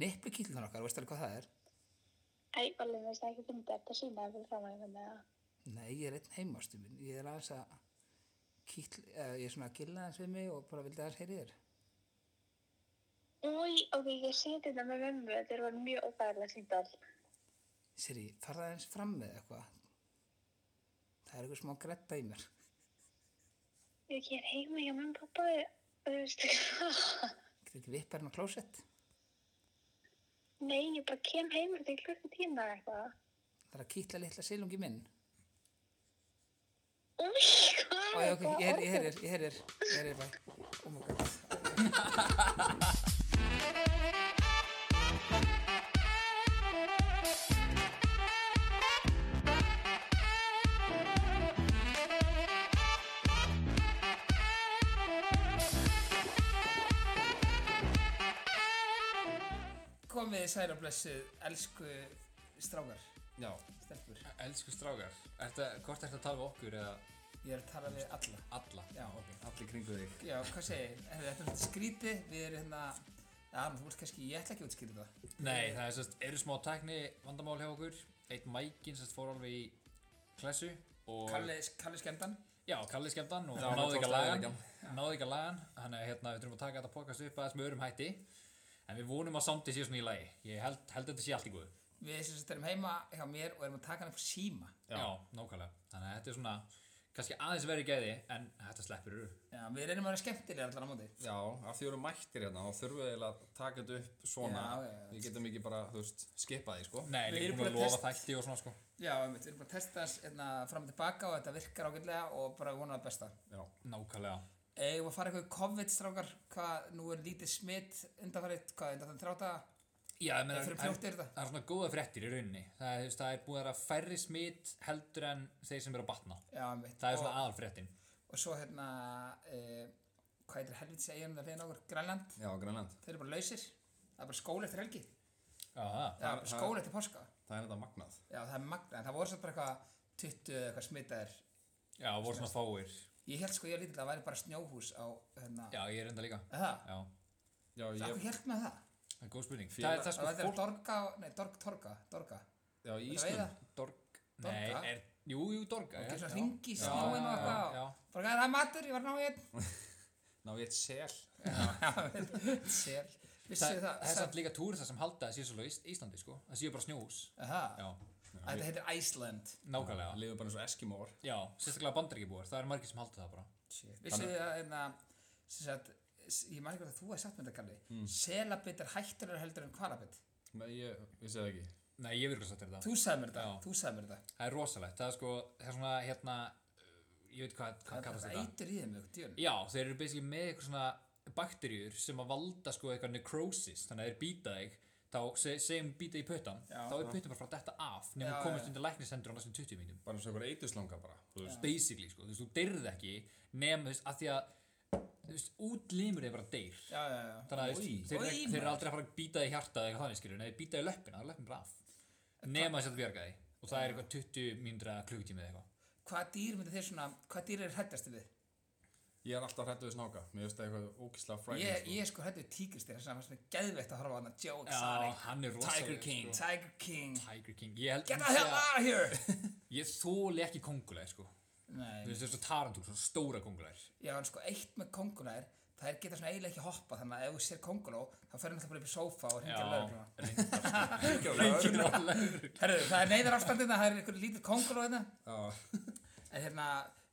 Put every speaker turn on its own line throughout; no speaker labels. Niplukýtlunar okkar, veist alveg hvað það er?
Æ, alveg veist ekki fyrir þetta sína fyrir framann þannig að
Nei, ég er einn heimastu minn. Ég er aðeins að kýtl, eða ég er svona að gilla aðeins við mig og bara vildi aðeins heyri þér.
Új, ok, ég seti þetta með mömmu þetta er bara mjög óbæðilega síndal
Siri, farða aðeins fram með eitthvað. Það er eitthvað smá gretta í mér.
Ég er heima hjá mömmu og pappa og þú veist hvað
Getur ekki vippar hennar klósett?
Nei, ég bara kem heima til klukku tíma eða eitthvað
Það er að kýtla litla silungi minn.
Új,
Ó,
hvað
já,
er
ok, ég heyri, ég
orðið?
heyri, þér, ég heyri, þér, ég heyri, þér, bæ. Oh my god. Komið þið særa blessuð, elsku strákar,
Já,
stelpur.
elsku strákar, ertu, hvort ertu að tala við okkur eða
Ég er að tala við alla.
alla?
Já.
ok, allir kringu þig.
Já, hvað segir, þetta er svolítið skrítið, við erum hérna, já, þú veist kannski, ég ætla ekki að útskýra það.
Nei, það er sérst, eru smá tækni vandamál hjá okkur, eitt mækin sérst fór alveg í klessu og...
Kalli, Kalli skemmtan,
Já, Kalli skemmtan og
Já, hann
náði ekki að
tókst
laga
aðeins
hann, náði ekki að laga hann, þannig að hérna við þurfum að taka þetta pokast upp aðeins með örum hætti, en við vonum að samtið sé svona í lagi, ég held, held þetta sé allt í góðu.
við sem sagt erum heima hjá mér og erum að taka hann upp síma.
Já, nákvæmlega, þannig að þetta er svona, kannski aðeins verið gæði, en þetta sleppur eru.
Já, við reynum að vera skemmtilega allar á móti.
Já, af því við erum mættir hérna, þá þurfum við eiginlega að taka þetta upp svona.
Já, já, já.
Við getum ekki bara, þú veist, skipa því, sko.
Nei,
Við
líka
erum
búin
búin
að
að
lofa
testa-
þætti og svona sko.
Já, einmitt, við erum bara að testa þess hérna, fram og tilbaka og þetta virkar ágætlega og bara vonum það besta.
Já.
Nákvæmlega.
Eða að fara eitthvað í COVID, strákar, hvað, nú er lítið smitt undanfarið, hvað, undanfarið þrjáta?
Já, menn,
Þeir
það,
fyrir
það,
fljótt
það,
eru þetta.
er svona góða fréttir í rauninni það, er, þú veist, það er búið að vera færri smitt heldur en þeir sem eru að batna
Já, einmitt.
það er
Og-
svona aðalfréttin
Og svo hérna, e, hvað heitir helvitsi eiginum það hliðin á okkur? Grænland.
Já, Grænland.
Þeir eru bara lausir. Það er bara skóla eftir helgi.
Já,
Það er bara
það-
skóla eftir porska.
Það er þetta magnað.
Já, það er magna. En það voru svolítið bara eitthvað 20 eða eitthvað smitaðir.
já, voru svona fáir
Ég held sko ég lítilega að það væri bara snjóhús á hérna.
Já, ég er enda líka
Er Það?
Já,
Já,
Yep.
ég,
Akkur held með það?
það er góð spurning
Félag-
Það er það
Það
sko
var þetta
fólk
dorga, nei, dorg, torga, dorga.
já, í
Þetta
Ísland.
veiða.
Dorg
Dorga?
Nei, er, jú, jú, Dorga
Það er
já,
svona
já.
hringi,
Já,
snjóin og
já,
eitthvað.
já.
og Bara gæði það er matur, ég var náðu
Ná ég eitt sel.
einn. Sér. Vissu
Það
það?
það er samt líka túr það sem halda að sé svo laust Íslandi sko Það séu bara snjós
Það?
Já,
Þetta heitir Iceland.
nákvæmlega
Það lifur bara eins og Eskimóar.
Já, sérstaklega bandaríkibúar, það eru margir sem halda það bara
Vissu þið að hérna, sem sagt, s- ég man ekki hvað þú hefði sagt með þetta galli.
Hmm.
Selabitt er hættulegur heldur en hvalabitt.
Nei, ég vissi það ekki.
Nei, ég virkulega sagt þér það
Þú sagði mér þetta,
Já.
þú sagði mér þetta.
Það er rosalegt, það er sko, það er svona hérna, uh, ég veit hvað, hvað kallast
Það
þetta?
eitur í þeim, þú, djörn.
Já, þeir eru basically með eitthvað svona bakteríur sem að valda sko eitthvað necrosis, þannig að þeir býta þig, þá se- segjum býta í puttan,
Já.
þá er puttan bara frá þetta af, nema
Já,
að komast
já.
undir læknishendur á næstum 20 mínum.
Bara eins og einhver eituslanga bara, þú veist.
Basically, sko, þú veist, þú deyrð ekki, nema þú veist, að því að, þú veist, útlimur þeir bara deyr.
Já, já, já.
Þannig að þú
Oj.
veist, þeir,
Oj,
eru- þeir eru
maður.
aldrei að fara að býta þig í hjartað eða eitthvað þannig skilur, nei, býta þig í löppina, það er löppin bara af. Nema að setja bjarga því, og það er eitthvað 20 mínútur eða klukkutími eða eitthvað.
Hvað dýr myndir þér svona, hvað dýr er hættast við?
Ég er alltaf hrættu við snáka. Mér finnst það eitthvað ógislega
Ég,
frækning,
ég er sko hættu við tíkristýr, þess að það fannst mér geðveitt að horfa á hana Joe
Já,
Exotic,
hann er rosaleg,
Tiger King,
sko.
Tiger King,
Tiger King Ég held
get
að
the hell out of here!
Ég þóli ekki kongulæðir sko
Nei,
Þú veist þessu tarantúl, svona stóra kongulæðir
Já, en sko eitt með konguna er það er geta svona eiginlega ekki hoppa þannig að ef þú sér konguló þá fer hann alltaf bara upp í sófa og hringja lögregluna
sko.
Herru, það er neyðar ástandina, það er einhver lítill konguló hérna
Já.
en hérna,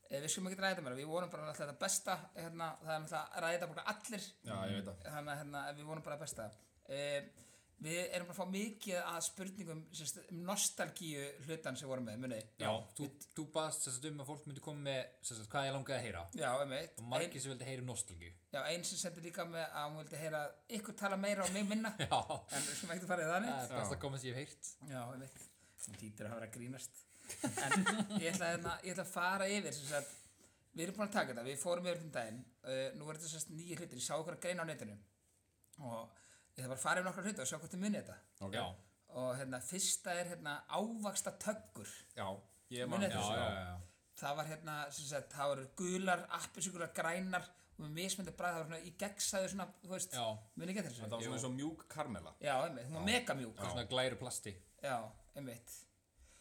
eh, við skulum ekki ræða þetta meira við vonum bara alltaf þetta besta hérna, það er alltaf að ræða þetta bara allir
Já, ég veit það.
þannig að hérna, við vonum bara að besta um, við erum bara að fá mikið að spurningum sérst, um nostalgíu hlutan sem vorum með, munið
Já, þú, þú baðst þess að um að fólk myndi koma með þess að hvað ég langaði að heyra
já, einmitt
og
ein,
margir sem vildi heyra um nostalgíu
já, ein sem sendi líka með að hún vildi heyra ykkur tala meira og mig minna
Já,
en við skulum ekkert fara í það
það
neitt
er best að koma sem ég hef heyrt
já, einmitt, hún títur að hafa verið að grínast en ég ætla, að hérna, ég ætla að fara yfir sem sagt Við erum búin að taka þetta, við fórum yfir um daginn, uh, nú er þetta sérst nýju hlutir, ég sá okkur að greina á netinu og ég ætla bara að fara yfir nokkra hluti og sjá hvort þið munið þetta.
Ok.
Já,
og hérna fyrsta er hérna ávaxta töggur
Já. Ég
Munið
man
eftir
já,
þessu?
já, já, já.
það var hérna sem sagt það voru gular, appisíkular, grænar og með mismöndi bræð það var svona í gegnsæðu svona, þú veist,
Já,
muni ekki eftir þessu
Þetta var svona eins og mjúk karmela
Já, einmitt, hún var mega mjúk
eitthvað svona glæru plasti
Já, einmitt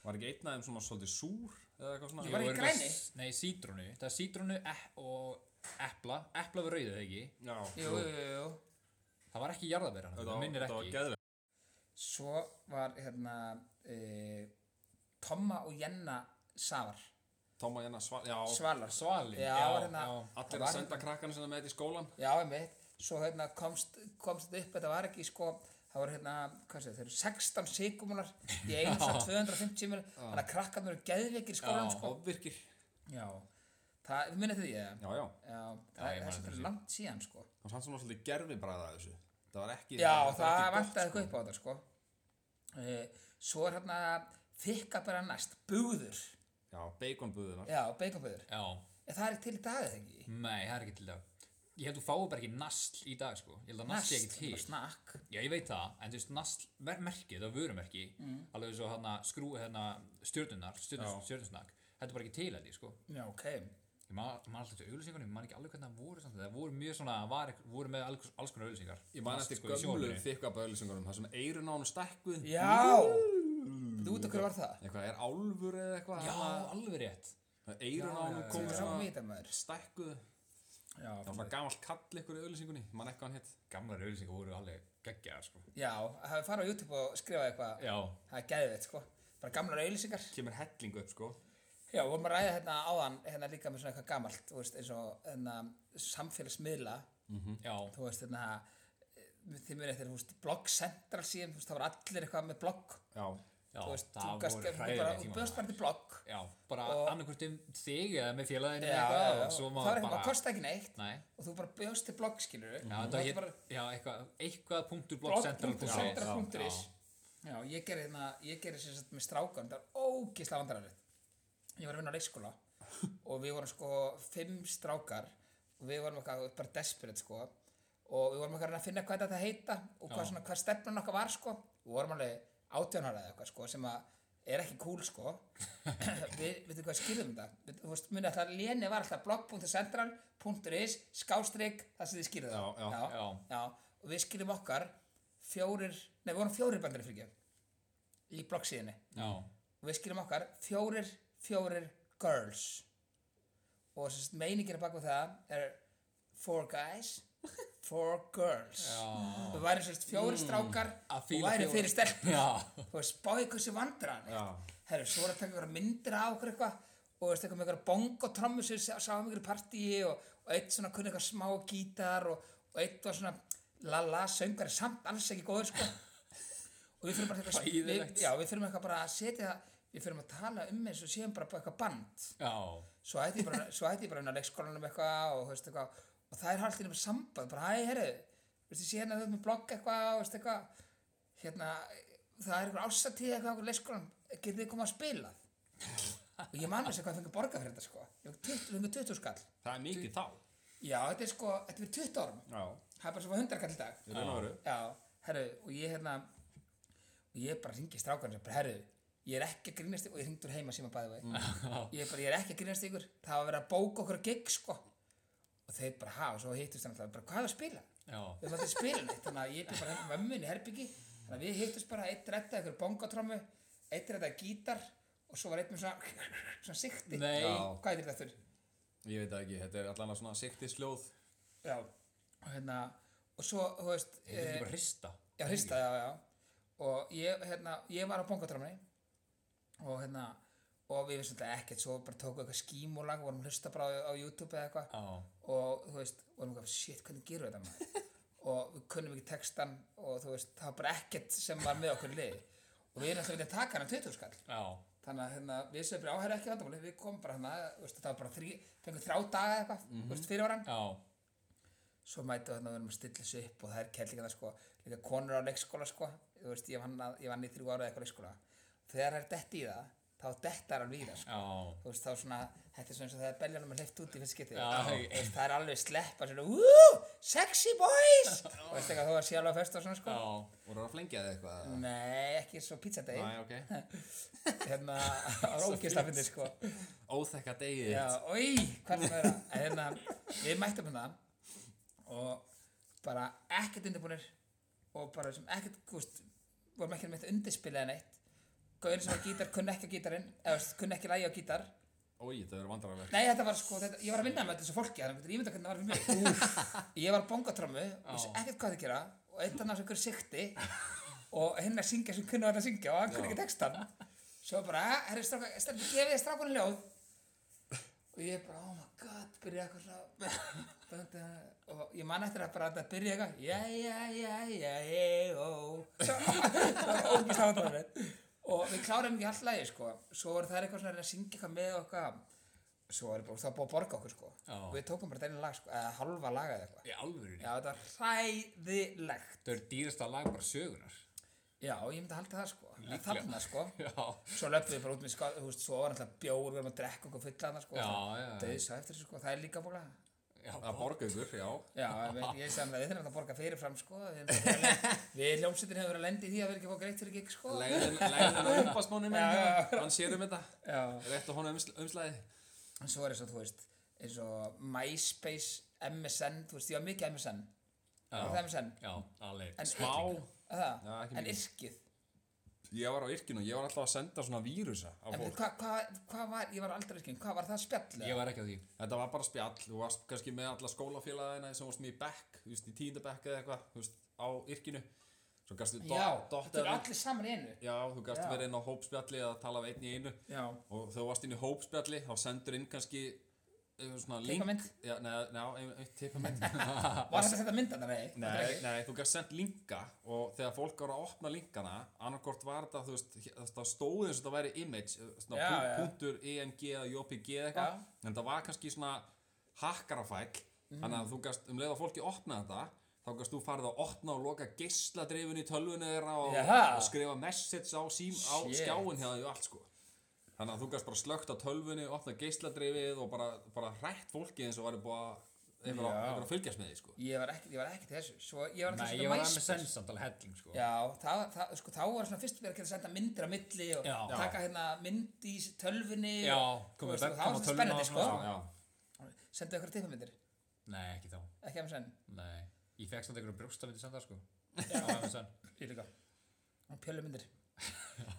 Var ekki einn af þeim svona svolítið súr eða eitthvað svona
Ég var í
Jú, erum við
græni.
s- Nei, sítronu, það er sítronu e- og epla, epla við rauðið ekki
Já,
Jú, jú, jú, jú
Það var ekki jarðabera,
þetta
það
var-
minnir
þetta var
ekki
geðvegt
Svo var, hérna, e, Tomma og Jenna Savar
Tóma hérna svar, já
Svalar
Svalin,
Já,
já,
hérna,
já.
það
Allir
var
að senda krakkana sinna með þetta í skólan
Já, einmitt, svo hérna komst, komst þetta upp, þetta var ekki sko Það voru hérna, hvað sé, þeir eru 16 sigumunar í einu svona 250 mil Þannig að krakkarnir eru geðveikir í skólanum sko
Ofvirkir
Já, það, við minnið því ég
Já, já
Já, það
ég
er
man
þess að
eftir þessu.
langt síðan sko
Það var samt svona svolítið gerfi bræða þessu Það var ekki
Já,
þetta
það
var ekki gott,
vantaði eitthvað upp á þetta sko uh, Svo er hérna þykka bara næst, búður
Já, beikonbúðina
Já, beikonbúður
já,
En það er til í dagið ekki
nei, það er ekki til dag Ég held þú fáið bara ekki nasl í dag, sko Ég held að nasl sé ekki
bara
til
snakk
Já, ég veit það, en þú veist, nasl, ver- merkið, það vörumerki Alveg svo hérna, skrú, hérna, stjörnunar, stjörnus,
Mm. Já.
stjörnusnak Þetta er bara ekki til held ég, sko
Já, ok
Ég man, man alltaf til auðlýsingunum, ég man ekki alveg hvernig það voru samt Það voru mjög svona, var, ekk- voru með alls, alls konar auðlýsingar
Ég man
Nasl,
eftir
sko, í
gömlu
sjónvarpinu.
þykka bæðlýsingunum Það sem eirun á hún stækkuð
Já, þú út okkur var það
Eitthvað er álfur eða eitthvað
Já, alveg rétt
Eirun á
Já,
hún
já,
Komur
komið
svo
svona
mýta maður
stækkuð
Já,
Það var svona gamall kall ykkur í auðlýsingunni Ég Man ekki hvað hann hétt
Gamlar auðlýsingar voru alveg geggjaðar, sko
já það hefur farið á YouTube og skrifað eitthvað
Já,
Það er geðveitt sko Bara gamlar auðlýsingar
Kemur hellingu upp sko
Já, við vorum að ræða hérna áðan hérna líka með svona eitthvað gamalt, þú veist, eins og hérna, samfélagsmiðla
já,
þú veist hérna eh, þið munið eftir, þú veist, blogg central síðan þú veist, það var allir eitthvað með blogg
Já
já
þú veist, þú
Það
gast
voru
þú bara,
hræðilega
þú
tíma
bjóðst bara til blogg
Já, bara
Og-
annarkvort um þig eða með félaginu
Já, já,
eitthvað
já,
og
það
svo
var
maður
eitthvað,
bara
það kosti ekki neitt
Nei,
og þú bara bjóðst til blogg, skilur
já, þetta hét, já, eitthvað, eitthvað punktur blogg central.is
blogg.central.is Já, ég gerði hérna, ég gerði sér sett með strákan, það var ógislega vandrarlegt Ég var að vinna á leikskóla og við vorum sko fimm strákar og við vorum eitthvað bara desperate sko og við vorum eitthvað að reyna að finna hvað þetta heita og hvað,
Já.
svona, hvað stefnan okkar var sko við vorum alveg átjónara eða eitthvað sko sem að er ekki cool sko við veitum hvað skýrðum þetta við, þú veist, munið alltaf léni var alltaf blog.central.is skástrík það sem þið skýrðu
Já, já,
það
já.
og við skýrðum okkar fjórir, nei við vorum fjórir bandari fyrir ekki í bloggsíðinni
Já,
og við skilum okkar fjórir, fjórir girls og sérst meiningir bak við það er four guys four girls
Já.
við væri sérst fjórir strákar
Að
og
fíla
væri
fjóra.
fyrir stelpur
já,
þú veist, spáði hversu vandran
Já.
herru, svo er að taka ykkur myndir af okkur eitthvað og veist, eitthvað með ykkur bong og trommu sem sá- sáum ykkur í partíi og, og eitt svona kunni eitthvað smá gítar og, og eitt var svona la la söngar samt alls ekki góður sko og við fyrir bara eitthvað
Hræðilegt.
við, já, við fyrir eitthvað bara að setja það við fyrir að tala um eins og séum bara bara eitthvað band
já
svo hætti ég bara, svo hætti ég bara inn á leikskólanum eitthvað og, þú veist, eitthvað, og það er haldið um samband bara, hæ, herru, veist, ég sé hérna þau með blogg eitthvað, og, veist, eitthvað hérna, það er eitthvað ársatíð eitthvað á leikskólanum, getið þið komað að spila og ég man þess að hvað fengur borga fyrir þetta sko, ég fengur 20 skall
Það er mikið þá
já, þetta er sko, þetta er 20 árum
Já
það er bara svo 100 kall í dag
Í raun og veru
Já, herru, og ég hérna og ég bara ringi strákan sem bara, herru, ég er ekki að grínast ykkur og ég hringdur heima síma bæði vei
Mm.
ég er bara, ég er ekki að grínast ykkur það var verið að bóka okkur að gig, sko og þeir bara, ha, og svo hittust hann alltaf bara, hvað er að spila?
Já,
við erum alltaf að spila neitt, þannig að ég er bara heim með mömmunni herbyggi, þannig að við hittust bara eitt rettaði ykkur bongotrömmu, eitt rettaði gítar og svo var eitt með svona svona sikti,
Nei.
Já.
hvað er þetta þurr?
Ég veit það ekki Þetta er allan að svona siktisljóð
Já, og hérna og svo, þú veist eh,
þetta er ekki bara hrista
Já, hrista, já, já. Og ég, hérna, ég var á bongatrömmunni og hérna, og við vissum þetta ekkert, svo bara tókum við eitthvað skímulag, vorum að hlusta bara á, á YouTube eða eitthvað
Já,
og þú veist, vorum eitthvað, shit, hvernig gerum við þetta maður? og við kunnum ekki textan og þú veist, það var bara ekkert sem var með okkur í liði og við erum alltaf vilja taka hana 20 skall
já,
þannig að hérna, við sem bara áhæra ekki vandamáli við komum bara hana, þú veist, það var bara þrý, fengum þrjá daga eða eitthvað, þú veist, fyrir varan
já
svo mætum við þarna og verðum að stilla þessu upp og það er kellingar sko, líka konur á leikskóla sko, þú veist, ég vann, að, ég vann í þrjú ára eða eitthvað leikskóla, þegar það er detti í það þá dettar alveg í það sko.
Já,
þú veist, þá svona, þetta er svona eins og það er beljanum að hleyft út í fyrst getið,
Já.
það er alveg sleppa svona, úúú, sexy boys og veist eitthvað, þú var sjálf á fest og svona sko
já,
Voru að flengja þig eitthvað eða?
nei, ekki svo pizzadei
Næ, Mm. ok
hérna, það var ógist að finna sko
Óþekka degið
Já, oi, hvernig er það? En hérna, við mættum hérna og bara ekkert undirbúnir og bara sem ekkert, þú veist, vorum ekkert með þetta undirspilið eða neitt Gauðin sem var á gítar, kunni ekki á gítarinn, eða þú veist, kunni ekki lægi á gítar
Ói, það eru vandrarverk
Nei, þetta var sko, þetta, ég var að vinna með öllu þessu fólki, þannig að ég myndi að hvernig það var fyrir mig Ég var á bongatrömmu, vissi ekkert hvað það gera og eitt annars einhver sikti og hinn að syngja sem kunni var að syngja og hann kunni ekki textan Svo bara, herri, stráka, stráka, gefið þið strákunum ljóð og ég bara, oh my god, byrja eitthvað svona Bönda, og ég man eftir að bara þetta byrja eitthvað já, já, já, já, já, ó oh." það var ógist átáðið og við klárum ekki alltaf lagi, sko svo voru þær eitthvað svona að reyna að syngja eitthvað með og eitthvað svo var ég bara, það var búið að borga okkur, sko
Já.
og við tókum bara þetta einu lag, sko, eða halva laga eða eitthvað
Í alvöru
já, þetta var hræðilegt
Það er dýrasta lag bara sögunar
já, ég myndi að halda það, sko en
Líklega.
þarna, sko
Já
svo löpum við bara út með ská, þú veist, svo var alltaf bjór, við erum að drekka okkur fulla þarna, sko
Já, já, já.
Dauðsa eftir, þessu, sko, það er líka búinlega
Já,
Að borga ykkur, já
Já, ég veit- ég sem það, við þurfum að borga fyrirfram sko, við erum bara að lenda- við hljómsveitin hefur verið að lenda í því að við erum ekki að fá greitt fyrir gig sko
Legðin upp að spónum minn
Já, já, já.
Hann sér um þetta
Já,
Rétt á honum umsl- umslagið
en svo er þess að þú veist, eins og MySpace, MSN, þú veist, ég var mikið MSN, var það MSN,
já, alveg
En-
Smá
Er það,
Já, ekki
en
mikið.
yrkið,
Ég var á yrkinu, ég var alltaf að senda svona vírusa á
en
fólk
hvað hva, hva var, ég var aldrei yrkin, hvað var það spjallið?
Ég var ekki á því
Þetta var bara spjall, þú varst kannski með alla skólafélagina sem varst með í bekk, þú veist, í tíndabekk eða eitthvað, þú veist, á yrkinu Svo gæstu
Já, þetta
dottið
er allir saman í einu.
Já, þú gæstu
Já.
verið inn á hópspjalli eða tala við einn í einu
Já,
og þegar þú varst inn í hópspjalli þá sendur inn kannski eitthvað svona link
Teiknamynd?
Já, neða, neða, tippamynd
var þetta þetta myndan, nei? Þetta er
Nei,
ekki-
nei, þú gæst sendt linka og þegar fólk voru að opna linkana annarkort var þetta, þú veist, hér- það stóð eins og þetta væri image, eh, svona
Já,
já,
já.
punktur .emg eða .jpg eða eitthvað, en það var kannski svona hakkarafæll
Mhm.
þannig að þú gæst, um leið að fólki opna þetta þá gæst þú farið að opna og loka geisladreifun í tölvunni þeirra og,
Jaha.
og skrifa message á, sím, á
Shit.
skjáin hjá því og allt sko þannig að þú gæst bara slögt á tölvunni opna geisladreifið og bara, bara hrætt fólki eins og væri búið að einhver að-
Já.
einhver að fylgjast með því sko
Ég var ekki, ég var ekki til þessu, svo ég var alltaf
Nei, ég var með sensand alveg helling sko
Já, það, það, sko, þá var svona fyrst verið að geta senda myndir á milli og
Já.
taka hérna mynd í tölvunni
Já,
og,
komið
og, það
webcam
var
á
svona
tölvuna
spennandi
og
sko.
svona,
já.
Sendu ykkur tippamindir,
Nei, ekki þá
ekki MSN,
Nei Ég fekk samt einhverjum brjóstafindir sendar sko Á MSN
ég líka og pjölumindir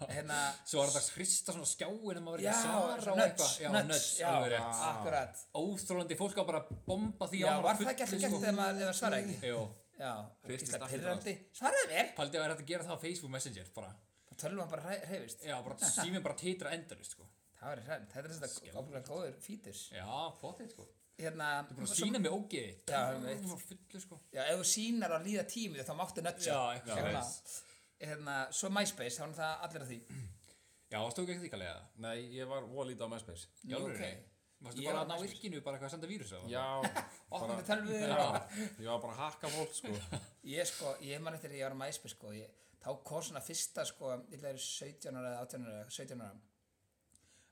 Hérna,
Svo var þetta að skrista svona á skjáin um að vera
já,
ekki að svara og
nuts,
eitthvað Já, nuts,
já, Ah.
alveg rétt
akkurat
Óþrólandi fólk á bara að bomba því
Já,
á hann
var það ekki alltaf gert
sko.
þegar maður ef maður svaraði ekki?
Jó,
Já,
Hristist
ógeðslega
allt í
pirrandi Svaraði mér,
paldið að vera hægt að gera það á Facebook Messenger bara
tölvan bara hre- hreyfist
Já, bara síminn bara titra endalist sko
Það var hrænt, þetta er þetta ábúinlega góður fítus
Já, potið sko Þú
Hérna,
er búin að
svo-
sína mig ógeði
Já, ég veit.
Þú var fullu sko
Já, ef þú sínar að líða tímið þá máttu nötsa
Já, eitthvað
Hérna, svo MySpace, þá er það allir að því
Já, stóðu ekki því kallega það
Nei, ég var volítið á MySpace
Já,
Nú,
alveg
ok.
Varstu
Ég
bara
var
að ná virkinu, bara eitthvað að senda vírus á það?
Já,
Opnum
bara,
við tölvið
ég var bara að hakka fólk sko
Ég sko, ég man eftir að ég var á MySpace sko ég, Þá kom svona fyrsta sko Ítla eru 17 ára eða 18 ára eða 17 ára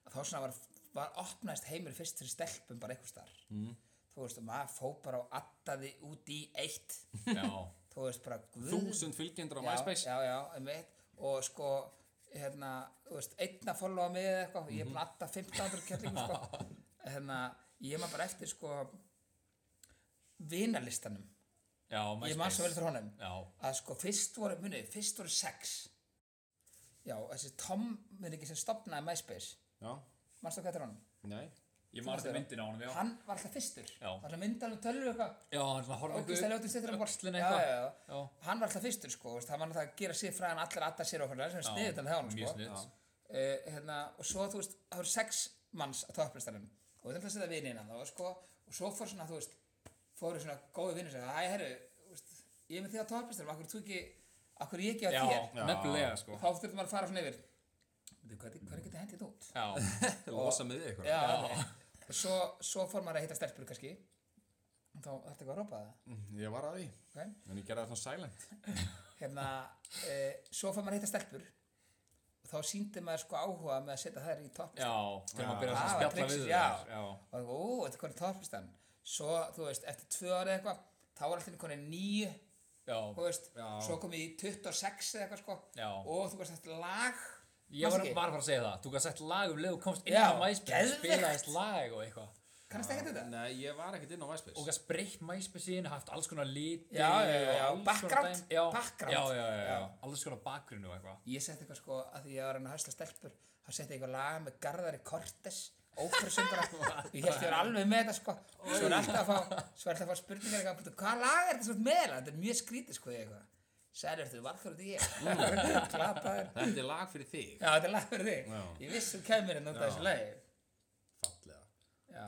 að Þá svona var, var opnaðist heimur fyrst fyrir stelpum bara einhvers þar mm. Þú veist, og maður fó bara og addaði út í eitt
Já,
Þú veist, bara guð
Þúsund fylgjendur á MySpace
já, já, já, einmitt og sko hérna, þú veist, einn að followa mig eða eitthvað, ég er blata 1500 kjallingum sko, hérna, ég maður bara eftir sko vinalistanum,
já,
ég maður svo vel fyrir honum
Já,
að sko, fyrst voru, munið, fyrst voru sex já, þessi Tom munið ekki sem stopnaði MySpace
Já,
mannstu hvað þetta er honum?
nei
ég maður þetta myndin á honum, já
hann var alltaf fyrstur,
Já.
hann var myndið alveg tölvu eitthvað
Já, hann svona horfa
Ógeðslega ljótum styttur um
öxlina
Já, já, já.
Já.
Hann var alltaf fyrstur sko, veist, hann var alltaf að gera sér fræðan allir aðta sér okkur, það er sem sniðið þannig hjá hann sko.
Mjög sniðt
uh, hérna, og svo þú veist, það voru sex manns á topplistanum og við ætlum að setja vini innan þá sko, og svo fór svona, þú veist fóru svona góði vinur sem, æ, herru þú veist, ég er með því á topplistanum, akkur þú ekki akkur ég ekki á
Já,
þér
nefnilega sko
og þá þurftum maður að fara svona yfir "Bíddu, hvað, hvernig getið hendið þetta út?
Já,
Losa með því eitthvað
Já, og svo, svo fór maður að hitta stelpur kannski og þá ætti eitthvað að ropa það
Mm, Ég var að því
okay?
En ég gerði það svona silent
hérna, uh, svo fór maður að hitta stelpur og þá síndi maður sko áhuga með að setja þær í topplistan
já, þegar maður byrja
Já,
að
Ah, það var
svona spjalla
trixið,
við
já.
það Já,
og það var, ú, þetta er konið topplistan svo, þú veist, eftir tvö ára eða eitthvað þá var alltaf konið nýju þú
já
veist,
Já.
svo kom ég í 26 eða eitthvað sko,
Já.
og þú veist, þetta lag
Ég
Manstu
var bara
ekki?
að fara að segja það Þú gæði sett lag um leið og komst inn
Já,
á MySpace
geðveikt.
Spilaðist lag og eitthvað
kannast ekki þetta?
Nei, ég var ekkert inn á MySpace
og gæst breytt MySpace-in, haft alls konar liti
Já, já, já, já,
og alls konar
background,
dæmi- já,
background.
já, já, já, já,
Já.
alls konar bakgrunn og eitthvað
Ég setti eitthvað sko, að því ég var að reyna að hösla stelpur þá setti ég eitthvað lag með Garðari Cortes óperusöngara, ég held ég var alveg með þetta sko, svo er alltaf að fá svo er alltaf að fá spurningar eitthvað, "Bíddu, hvaða lag er þetta svo með þetta er mjög skrítið sko ég eitthvað Sælir, þú varð fyrir því
Mm.
ég Glataður
Þetta er lag fyrir þig
Já, þetta er lag fyrir þig
Já.
Ég viss þú kemur inn út af
Já.
þessu lagi
Fallega
Já,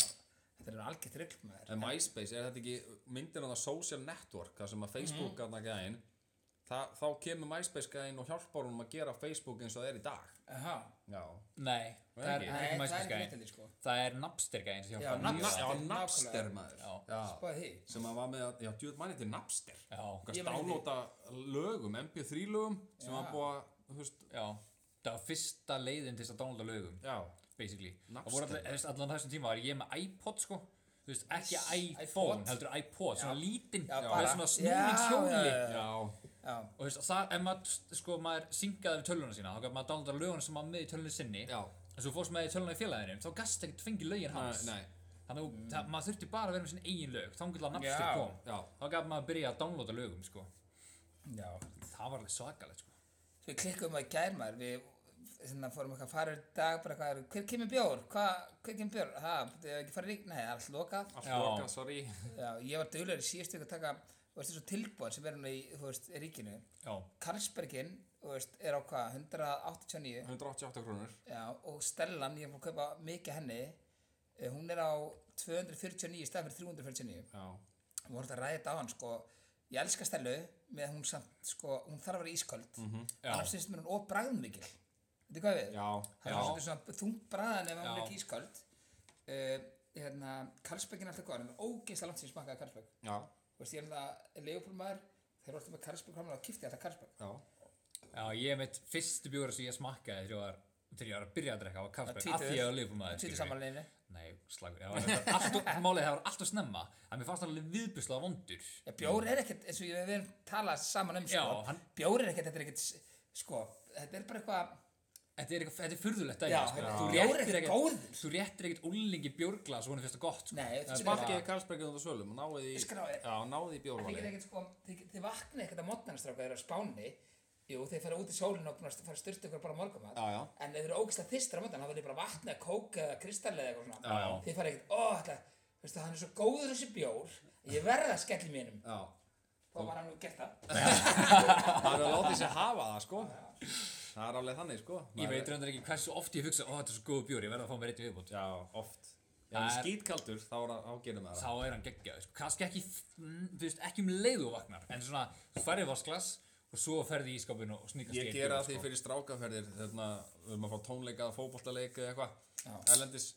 þetta er algjört rugl maður
En MySpace, er þetta ekki myndir á það social network, það sem að Facebook mm. gæðna gæðin þá kemur MySpace gæðin og hjálpar honum að gera Facebook eins og það er í dag
Aha.
Já,
Nei, það er
Nei, það er
ekki
ekki.
ekki neitt
MySpace-gæðin
til því sko
Það er Napster-gæðin sem
Já,
hjálpar
Napster.
mjög að-
já
nákvæmlega.
Napster maður
Já.
Já.
Spáði því
sem að var með að, já, djúð manni til Napster
Já,
Ég
Gæst
man eftir því.
dálóta lögum, MP3 lögum sem
Já.
var búið að, þú veist,
já, það var fyrsta leiðin til þess að downloada lögum
já
basically
Napster.
Það voru allan, þú veist, allan þessum tíma var ég með iPod sko þú veist, ekki iPhone,
iPod.
heldur iPod, svona lítinn
Já,
með
bara-
svona
Já,
snúningshjóli
já,
Já,
Já,
og þú veist, það, ef maður sko, maður syngaði við tölvuna sína, þá gaf maður downloada löguna sem maður með í tölvunni sinni
já
en svo fórst maður í tölvuna í félaginu, þá gast ekkert fengið lögin hans
Nei, nei,
þannig að mm. maður þurfti bara að vera með sín eigin lög þá að
Já.
Napster kom,
já
þá gaf maður að byrja að downloada lögum sko,
já
það var alveg svakalegt sko
Við klikkum að gær maður Við hérna, fórum eitthvað að fara í dag bara hvað er Hver kemur bjór? Hva, hver kemur bjór? Ha, það er ekki farið rík? Nei, það er allt lokað
Allt
Já.
loka, sorry
Já, ég var duglegur í síðustu ykkur að taka Þú veist, þessu tilbúin sem er hann í, þú veist, ríkinu
já,
Karlsbergin, þú veist, er á hvað? 189
188 krónur
Já, og Stellan, ég er búin að kaupa mikið henni eh, Hún er á 249 í stað fyrir 349
Já,
Við vorum þetta að ræða þetta á hann sko Ég elska Stellu með hún samt sko Hún þarf að vera ísköld mm -hmm.
Mhm, Já.
Annars finnst mér hún óbræðmikil Þetta er hvað við?
já,
Það er svolítið svona þung bræðan ef hún er
Já.
ekki ísköld uh, Hérna, Karlsbergin er alltaf góð En ógeðslega langt sem ég smakkaði Karlsberg
já,
Þú veist, ég er alltaf leifupólmaður Þeir eru alltaf með Karlsberg framlega og kipti alltaf Karlsberg
já
já, ég mitt fyrstu bjóra sem ég smakkaði þegar ég var þegar ég var að byrja að drekka á Carlsberg,
tvítugur.
af því ég var liðbúl maður
Sýttu samanleginni
Nei, slagur, já, þetta var alltaf, málið það var alltaf snemma að mér fannst hann alveg viðbuslega vondur
Já, bjór er ekkert, eins og ég við erum talað saman um sko,
Já, hann-
bjór er ekkert, þetta er ekkert s- sko, þetta er bara eitthvað
Þetta er, eitthvað- þetta er furðulegt dæmi,
Já,
sko.
já.
Þú
Bjór er
réttir
ekkert
ekkert,
góður.
þú réttir ekkert úlingi bjórglas og hann finnst það gott, sko.
Nei, þetta er bara-
Smakkiði Karlsbergið undir sölum og náði í
Skráið.
Já, náði í
Þeir
bjórvali
geta ekkert sko, þeir, þeir vakna ekkert að mótnarnastráka þeir eru á spáni Jú, þeir fara út í sólinu og búin að fara að styrta ykkur bara morgumat
Já, já.
En ef þeir eru ógæslega þyrstir á mótnan, þá verður bara vatna, kók eða kristall eða eitthvað svona
Já, já.
Þeir fara ekkert, ó, þetta, veistu, hann er svo góður þessi bjór Ég verða að skelli mínum
Já
Þá var hann nú gert það
Það er að láta sér hafa það sko Það er alveg þannig sko
Ég
Maður-
veit reyndar ekki hversu oft ég hugsa, ó, þetta er svo góð bjór, ég verð að fá mér eitt í viðbútt.
Já, oft Já,
Það
en
er-
skítkaldur, þá er að ágerðum með það
Þá er hann geggjaður, sko. Kannski ekki, mm, þú veist, ekki um leið og vaknar, en svona, þú færði vasklas og svo ferði í skápinu og sníkast
Ég gera það því fyrir strákaferðir Þarna, við erum að fá tónleika, fótboltaleik eða
Já.
eitthvað Erlendis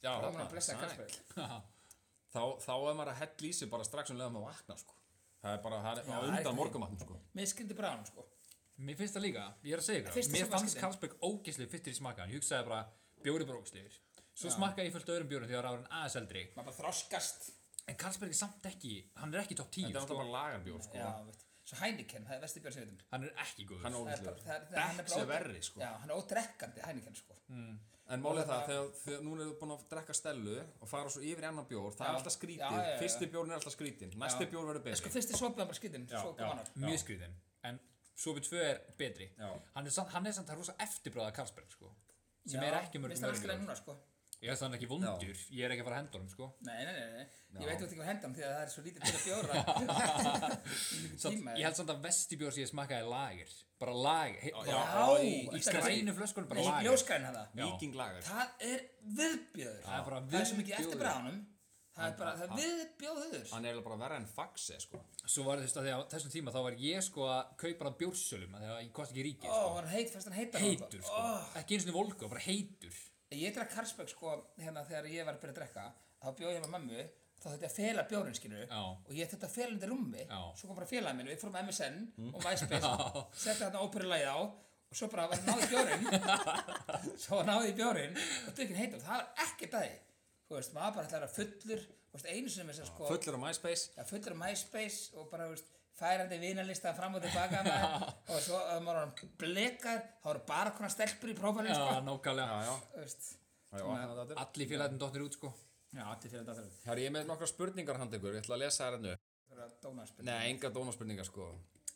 Já,
Það var
þarna,
hann að blessa
sæ.
Karlsberg
Þá, þá er maður að hella í sig bara strax um leiðum að vakna sko Það er bara, það
Já,
er á
það er ekki-
undan morgumatnum sko
Mér skildi bráðan, sko
Mér finnst það líka, ég er að segja
Fyrst
ykkur, mér
sem
fannst
vatnslitin.
Carlsberg ógeðslega fyttir í smakkan, ég hugsaði bara, bjóri bara ógeðslegur. Svo smakkaði ég fullt öðrum bjórum þegar ég var ráðin aðeins eldri,
Maður bara þroskast
en Carlsberg er samt ekki, hann er ekki top 10,
Þetta er
sko.
alltaf bara lagarbjór sko
Já, veit Svo Heineken, það er vesti björn sem við veitum
hann er ekki góður.
Hann
Það er
er
bara-
ógeðslegur
það er- það er- hann er
Becks
bara
er verri sko
Já, hann er ódrekkandi Heineken, sko
En málið er það, þegar, þegar núna erum við búin að drekka stellu og fara svo yfir í annan bjór, það
Já.
er alltaf skrítið,
Já, já, já.
fyrsti bjórn er alltaf skrítið, næsti
Já.
bjór
En
Mm.
verður
Sko,
betri.
fyrst er sopið hann bara skilin, svo
já.
kom annar
mjög skrýðin en Sobi 2 er betri
Já.
hann er, samt, hann er samt það rosa eftirbráða Karlsberg sko, sem
Já,
er ekki
mér
mörgum
finnst það allt í lagi
öðrum
núna, sko
ég veist hann er ekki vondur, ég er ekki að fara að henda honum sko.
Nei, nei, nei, nei.
Já.
ég veit þú ert ekki að henda hann því að það er svo lítið til að bjóra
samt,
Tíma,
ég held samt að vestibjór sem ég smakkaði er lager bara lager, hei,
já.
Já,
bara, í grænu flöskunum bara
Nei,
lager
ljósgræn hana
Já.
Víkinglagar.
Það er viðbjöður
Það er bara
Það er svo mikið
viðbjóður.
eftir bránum Það er bara, það er viðbjöður
Hann er eiginlega bara verra en faxi, sko.
svo var þetta því að á þessum tíma þá var ég sko að kaupa hann bjórsölum af því að ég kosti ekki ríkið
Ó,
sko.
hann heit, fannst hann heitar
heitur sko, ekki eins og volko, bara heitur
Ég drakk Karlsberg sko hérna þegar ég var að byrja að drekka þá bjóð ég með mömmu þá þurfti ég að fela bjórinn skilur
Já.
og ég þurfti að fela undir rúmi
Já. Mm.
svo kom bara félagið minn, við fórum á MSN og MySpace, setti þarna óperulægið á og svo bara var náði bjórinn svo náði ég bjórinn og dukkin heitum, það var ekkert að því þú veist, maður bara ætlaði að vera fullur þú veist, einu sem þess að sko
Fullur á MySpace.
ja, fullur á MySpace og bara þú veist, færandi vinalista fram og tilbaka með og svo að maður var blekar, þá voru bara konar stelpur í prófanum
já,
sko,
Já,
nákvæmlega
já.
þú veist
Já, opnaðu þetta aftur.
Allir félagarnir dottir út sko
Já, allir fyrir þetta þarf
Herri, ég er með nokkra spurningar handa ykkur, ég ætla að lesa þær hennu.
Það er að dóna að spila
Nei, enga dónaspurningar sko.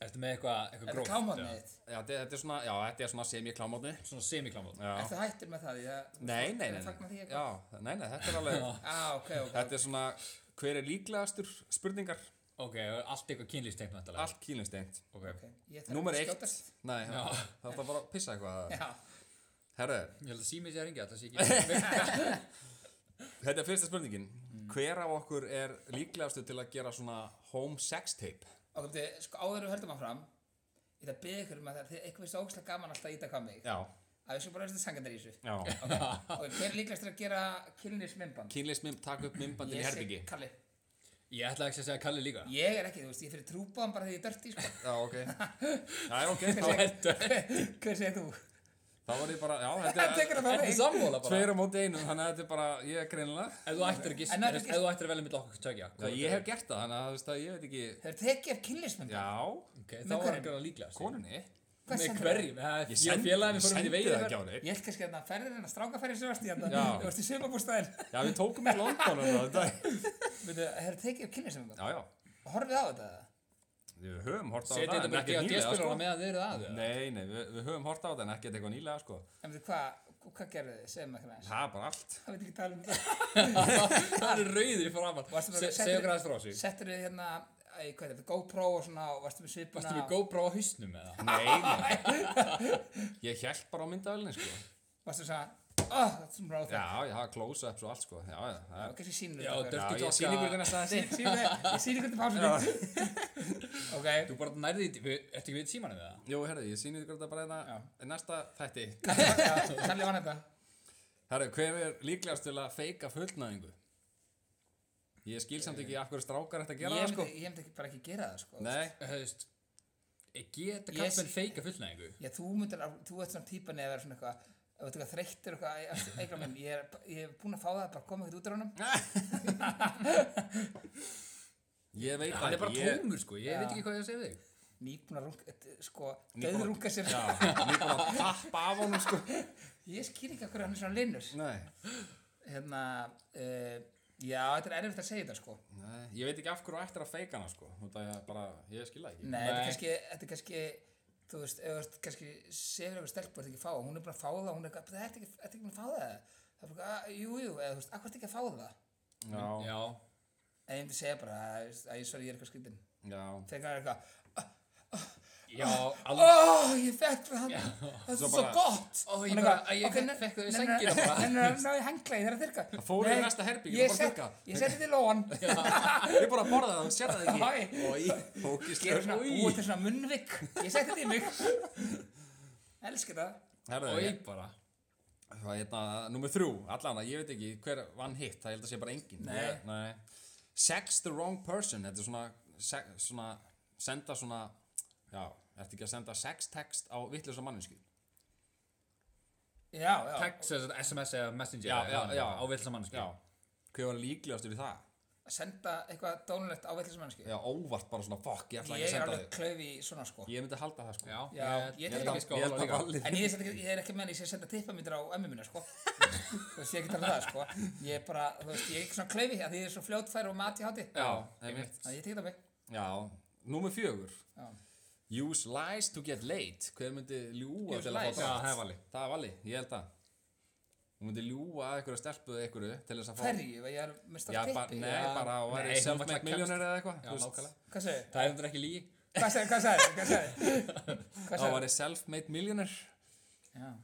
Ertu með eitthvað eitthva
Er það
gróft?
kámaðið
eða?
þitt?
Já, þetta þetta er svona, já, þetta er svona semi-klámotni.
Svona semiklámót
Er
Já.
það hættur með það? Ég,
Nei, nei, nei,
Ég fagna því
nei.
eitthvað.
Já, nei, nei, þetta er alveg,
Á, ok, ok.
þetta er svona, hver er líklegastur spurningar?
Ok, allt eitthvað kynlýstengt náttúrulega
Allt kýlinstengt.
Ok,
ok. Ég þarf
Númer
ekki að
eitt.
skjótast.
Nei, það er bara að pissa eitthvað.
Já,
Herru,
ég held að sími sér hringja, þetta sé ekki
þetta er fyrsta spurningin. Hver af okkur er líklegastur til að gera svona home sex tape?
ok, þið, sko áður en við höldum að fram Ég ætla að byggja ykkur um að það Þið eitthvað veist ógslag gaman alltaf að íta hvað mig
Já,
að við séum bara að þetta sangandar í þessu
já.
Og hver er líklegast til að gera kynlismimband?
Kynlismim, taka upp mimbandin í herbyggi.
Kalli
Ég ætla ekki að segja Kalli líka
Ég er ekki, þú veist, ég fyrir trúpaðan bara þegar ég er dörti, sko.
Já, ok. Já, ok, þá,
Hver segir þú?
þá var ég bara, já, þetta
Það
er
tekur það bara
Ertu
einn.
sammála bara?
tveir á móti einum, þannig að þetta er bara, ég er greinilega.
Ef þú ættir að gissa,
En ef
ef
þú
ef þú ættir að velja mitt okkur tökja
Já, ég hef gert það, þannig að þú veist að ég veit ekki
Þeir tekið af kynlismimband.
Já,
Ok, þá
hverjum?
var ekki að líklega
konunni
Hvað
Með
sendir
hverjum, það
Ég
er ég og
sendi-
félagin við fórum út
ég
í
sendi
vegið
það ekki á
Ég
neitt
held kannski hérna, að það ferðir hennar strákaferðir sem varst í hérna.
Já.
Þú varst í sumabústæðin.
Já, við tókum í London um það þetta
Veitu, þeir tekið af kynlismimband.
Já, já,
Horfið á þetta. eða?
við höfum hort á
Setið
það
þetta
en
bara ekki á
ekkert nýlega sko
djöspiluna meðan þið eru að
Nei, nei, við, við höfum hort á það en ekkert eitthvað nýlega sko
En veitu, hvað, hvað gerðu þið? Segðu maður hvernig.
Það er bara allt
Það veit ekki tala um það.
Það er rauður í framann
Varstu bara-
Se-
settir-
Segðu okkur aðeins frá sig
Settur þið hérna, æ, hvað er þetta, GoPro og svona og varstu með svipuna.
Varstu með
og-
GoPro á hausnum eða?
Nei, nei Ég hjælt bara á myndavelni sko
Varstu svona, oh, that's some raw thing.
Já, já, close-ups og allt sko Já, já, það er
Kannski sýnir
Já,
þetta.
Dirty
Já, ég
Talk
sýni ykkur
að-
þetta næsta
Sýnir- sýnir- Ég sýnir hvernig pásunni. Ok.
Þú bara nærði því, við- ertu ekki við símanum eða?
Jú, herri, ég sýni ykkur þetta bara
Já.
hérna næsta þætti
Kalli vann þetta
Herri, hver er líklegast til að feika fullnæðingu? Ég skil samt ekki af hverju strákar þetta
Eh,
að
Ég
gera það sko
myndi, ég myndi ekki, bara ekki gera það sko
Nei,
Þú veist, ég geta
Ég
kappmenn
sé-
feika fullnæðingu
Já, þú myndir, al- þú ert svona típan eða verður svona eitthvað ef þú ert eitthvað þreyttur og eitthvað eitthvað minn, ég er, ég er búin að fá það bara koma ekkert út af honum
ég veit
Hann er bara
ég-
tómur sko, ég
Já.
veit ekki hvað ég að segja við þig
nýbúin að runga, eh, sko,
Nýbúin að-
döðrunga sér
Já, hann er bara að tappa af honum sko
Ég skýr ekki okkur hann er svona linnur
Nei,
Hérna, uh, já, þetta er erfitt að segja þetta sko
nei, ég veit ekki af hverju ættir að feika hana sko Þú veit að ég bara, ég skil það ekki
Nei, þetta er
Nei.
kannski, þetta er kannski þú veist, ef þú ert kannski sefur eitthvað stelpur þetta ekki að fá, hún er bara að fá það hún er eitthvað, þetta er ekki, þetta er ekki búin að fá það það er bara, "Ah, jú, jú, eða þú veist, akkur er ekki að fá það
Já,
Já,
En ég myndi segja bara að að ég svar ég er eitthvað skrýtin.
já
Þegar hann er eitthvað,
já, alveg
ó, ég fekk það hann, það er
Svo
svo
bara,
gott.
ó, ég
Hún er
bara-
eitthvað,
æ, ég
"Ok,
fekk-
nen-
fekk þau í
nen-
sængina bara."
nen- nen- nen- ná í henglaði þegar að þurrka. Það
fór í næsta herbergi,
ég
bara
set-
þurrka.
Ég seti til ofan,
Ég bara borða það, þú sér það ekki
Æ.
Ói,
gera svona, búið
ógislega
til svona munnvik, ég seti þetta í mig. Elsku það.
Herðu,
Og ég
ég-
bara
það er hérna, númer þrjú, allan að ég veit ekki hver vann hitt Það ég held að sé bara engin
Nei.
Ég- nei. Sex the wrong person, þetta er svona, se- svona Senda svona, já, ertu ekki að senda sex text á vittlusa manninsku
Já, já.
text, sem sagt, SMS eða Messenger
Já,
eða
já,
eitthvað,
já.
á vilsa mann
Já, hver var líklegastur í það?
Að senda eitthvað dónulegt á veitlega mannski.
Já, óvart bara svona, fuck, ég ætla ekki
Ég
að
er
senda
alveg
þig
klaufi í svona sko.
Ég myndi halda það sko
Já,
Já,
ég-
ég
ég
held
er
að-
ekki sko
ég held að
líka.
Valli-
En ég er, ekki, ég er ekki með að ég sé að senda tippamindur á ömmu mína, sko. þú veist, ég er ekki talað um það, sko. Ég er bara, þú veist, ég er ekki svona klaufi að því ég er svo fljótfær og mat í háti.
Já, einmitt.
Þannig að ég tekið það mig.
Já, númer fjögur
Já.
Use lies to get late Hver myndi ljúa
Use
til að
lies.
fá
Já,
drátt?
það er Valli.
Það er valli, ég held það Hún myndi ljúa að einhverju stelpuðu einhverju til þess að fá
Hverju, ef ég er með
Já,
stórt
bara,
tippi.
nei,
Já.
bara að
Nei, hún
væri
ætlaði
self-made
að
millionaire eða eitthvað
Já,
þú veist.
nákvæmlega
Hvað segir?
Það er endur ekki lígi
Hvað segir, hvað segir, hvað segir? Hvað
Það
segir?
væri self-made millionaire
Já.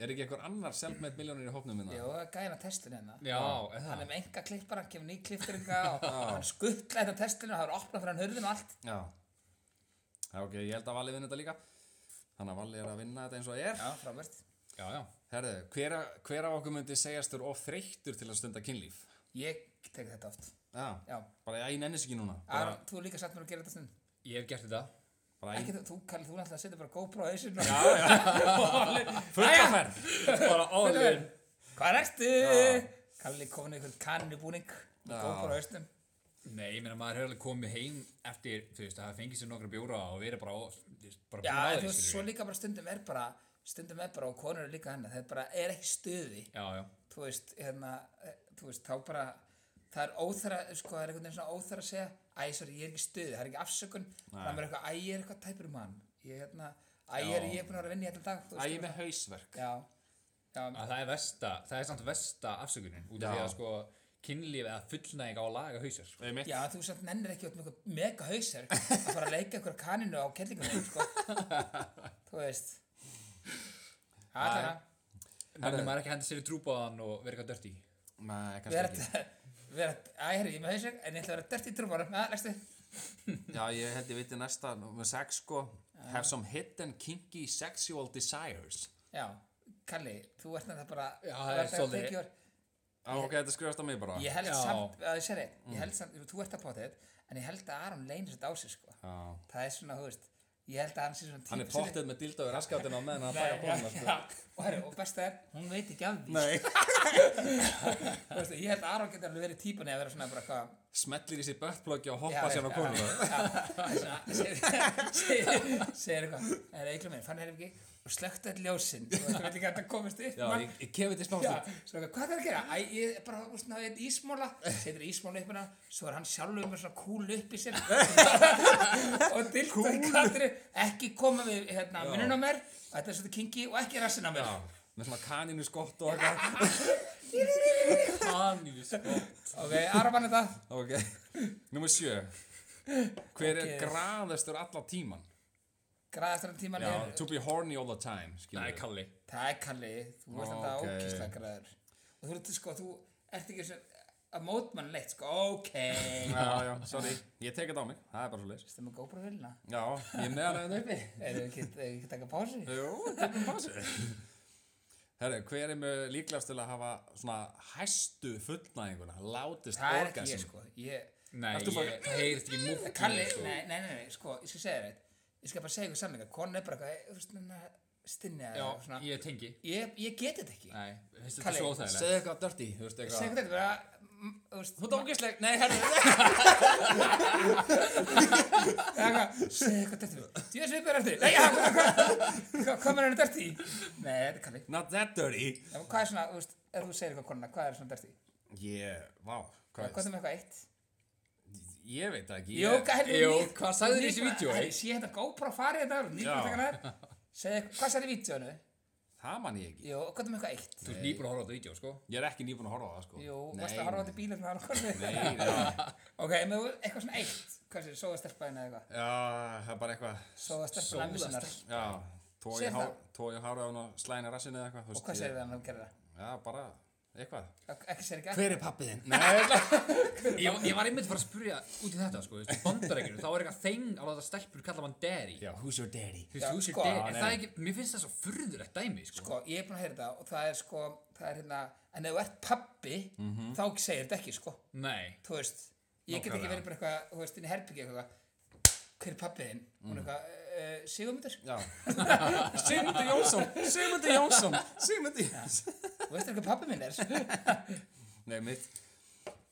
Er ekki einhver annar self-made millionaire í hópnum hérna? minna?
Jó, það er gæðin að testinu hérna.
Já, er
Hann
það
er með enga klippar, hann kemur ný klippringa og hann skuttla þetta testinu og það er opnað fyrir hann hurðin og allt.
Já Já, ok, ég held að Valli vinna þetta líka Þannig að Valli er að vinna þetta eins og er
Já, frábært.
Já, já
Herðu, hver, a- hver af okkur myndi segjast þurr of þreyttur til að stunda kynlíf?
Ég tek þetta oft.
Já,
Já.
bara ég nennis ekki núna bara,
Aron, þú er líka satt mér að gera þetta stund.
Ég hef gert þetta
bara
Ekki
ein,
þú, þú, Kalli, þú náttúrulega setur bara GoPro á hausinn og...
Fulla ferð
Bara áður
Hvað ertu?
Já.
Kalli komin í einhvern kannubúning með
Já.
GoPro á haustum.
Nei, ég meina maður hefur alveg komið heim eftir, þú veist, að það fengið sér nokkra bjóra og verið bara, á- þú veist, bara
Já,
búin að
en þú
því,
veist, svo
skilur við.
líka bara stundum er bara, stundum er bara og konur eru líka hennar, það er bara, er ekki stuði.
Já, já,
þú veist, hérna, eh, þú veist, þá bara það er óþara, sko, það er einhvern veginn svona óþara að segja æ, sorry, ég er ekki í stuði, það er ekki afsökun
Nei.
það er eitthvað, æ, ég er eitthvað tæpur um hann ég, hérna, æ, ég er,
Já.
ég er búin að vera að vinna í þetta dag þú
Æ,
veist,
ég er með hausverk
já, já,
að það er versta, það er samt versta afsökunin út af
Já.
því að sko kynlíf eða fullnæging á að laga hausar sko.
Einmitt.
já, þú samt nennir ekki út með eitthvað mega hausar að fara að leika eitthvað kaninu á kellingunum, sko þú veist allavega,
Nennir maður ekki að henda sér í trúbáðan og vera eitthvað dörti
Nei, kannski
vera
ekki
vera, æ, herri, ég er með hausar en ég ætla að vera dört í trúbárum, að, legstu
Já, ég held ég viti næsta Númer 6 sko Have some hidden kinky sexual desires
já, Kalli, þú ert nættið bara
Já,
þú
það
ert
er
að
svolítið-
þykja-
Á, ok, þetta skrifast á mig bara
Ég held
Já.
samt, að þú sér eitt,
Mm.
ég held samt, þú ert að potið, en ég held að Aron leynir þetta á sig, sko.
Já
Það er svona, þú veist, ég held að hann sé svona
Hann er pottið með dildo í raskatina á meðan hann
Nei,
færa bóna
já, já, og, herri, og besta er, hún veit ekki af því.
Nei
Þú veist, ég held að Aron getur alveg verið típan að vera svona bara hvað.
Smellir í sér böttplöggja
Já,
og hoppa sér á
já,
konuna
já, segir- segir- Segir eitthvað, það er eiklum minn, fann hér ekki, og slöktu all ljósin, og þú veit ekki að þetta komist upp.
Já,
mann.
ég, ég kemur
Já,
til smástund
svona, hvað er að gera? Æ, ég er bara, úst, ná, ég er ísmóla, setur ísmóla upp hérna, svo er hann sjálfur með svona kúlu upp í sér og dilta í kattri, ekki koma við hérna, munun á mér, þetta er svona kingi og ekki rassin á mér.
Já Með svona kaninu skott og eitthvað
Þannig sko
Ok, Araban þetta,
Ok Númer 7 Hver er
Ok.
graðastur allan tíman?
græðastur um tíman
Já,
er,
to be horny all the time skilur
Nei,
við.
Kalli
það er Kalli, þú veist þetta
Ok.
ókíslega græður. Og þú veist, sko, þú ert ekki svona að mótmann leitt, sko, ok. Þú
Já, já, sorry Ég tek þetta á mig Það er bara svo leys
veist, það með gópra vilna.
Já, ég er meðan að þetta uppi
Erum við ekki, eigum við ekki að taka pási?
Jú, tippum pásu Herru, hver er mjög líklegast til að hafa svona hæstu fullnæðinguna, látist
Það er ekki
orgasm?
ég, sko, ég...
Nei,
Ertu
ég,
bara-
það heyrist ekki mútt
Kalli, nei, nei, nei, nei, sko, ég skal segja þér eitt Ég skal bara segja ykkur samlinga, konan er bara eitthvað, þú veist, hérna, stinni eða
Já,
eitthvað svona
ég tengi
Ég, ég get þetta ekki
Nei, finnst þetta
Kalli,
svo óþægilegt
Segðu eitthvað dirty, þú veist
Segðu þetta
eitthvað
er bara, mm, þú veist
Þú dókisleg, nei, herru
Segðu eitthvað dættu Þú veist við bara eftir Nei, já, hvað- hvað- hvað- hvað með henni dættu í? Nei, þetta er Kalli
Not that dirty
Já, Hvað er svona, þú veist, ef þú segir eitthvað konuna, hvað er svona dættu í?
Yeah, vá, hvað
Hvað er með eitthvað eitt?
Ég veit það ekki
Jú,
ég-
hvað
Jú, hvað sagði þér í þessu vídeói?
Ég hérna GoPro farið þetta og nýbúin
Já.
að taka hana þær. Segðu eitthvað- Hvað sagði í vídeónu?
Það man ég ekki
Jú, hvað er með eitthvað eitt?
Þú ert nýbúin að horfa á þetta vídeo, sko
Ég er ekki nýbúin að horfa á það, sko
Jú,
Nei,
varstu að horfa á þetta bílum þar og konuna?
Nei, nei
Ok, en þú eitthvað svona eitt, hvað sé, sóðastelpaðin eða eitthvað,
Já, það er bara eitthvað
sóðastelpaðin lammissunar
Já, tói
Sér það?
og hárað hún og slæna rassinu eða eitthvað þú
og
veist,
hvað
ég-
segir það hann að gera það?
Já, bara eitthvað
Ok, Ekki segir ekki
Hver er pappið þinn? Nei,
Ég, ég var einmitt að fara að spurja út í þetta, sko Bandarækjur, þá er eitthvað þeng að láta stelpur kalla mann daddy
já, who's your daddy?
Þú
Já,
veist, þú sér
sko.
daddy
Já,
En
nei,
það er ekki, mér finnst það svo furðulegt dæmi, sko
Sko, ég er búin að heyra þetta og það er sko, það er hérna, en ef þú ert pabbi,
Mhm.
þá segir þetta ekki, sko,
Nei
þú veist, ég get ekki
Nákvæmlega.
verið bara eitthvað, þú veist, inn í herbyggi eitthvað, hver er pabbið þinn?
Mhm.
Hún er eitthvað, uh, Sigurmundur,
Já Sigmundur Jónsson, Sigmundur Jónsson, Sigmundur Jónsson
þú veist eitthvað pabbið minn er?
Nei, mitt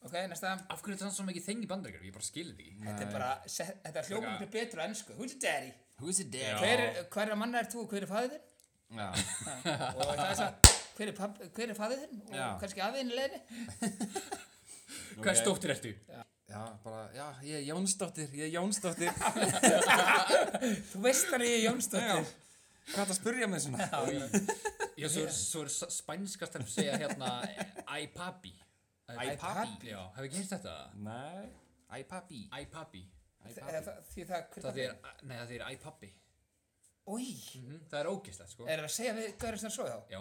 ok, næsta,
Af hverju er þetta svona mikið þeng í bandarækjur? Ég bara skil þetta ekki
þetta er bara, se- þetta er hljóma miklu betur á ennsku, who's your daddy?
Who's your
Já.
Hver, hver er manna er þú og hver er fæðið þinn?
Já,
og það er það hver er, papp- hver er fæðið þinn og
Já.
kannski afiðin í leiðinni
Hvað er stóttur ertu?
já bara, já, ég er Jónsdóttir, ég er Jónsdóttir
þú veist hann ég er Jónsdóttir
Hvað er að spurja mig svona?
Já, svo er, svo er s- spænska stelpur segja hérna Æ papi
Æ, pabbi.
Já, hef ekki heyrt þetta?
Nei Æ, pappi
Æ papi
Æ,
Eða það- því það hver
Það er, nei það er æ pappi
Új,
Mhm, Það er ógeðslegt sko
er það að segja við Gaurins þar svo þá
Já,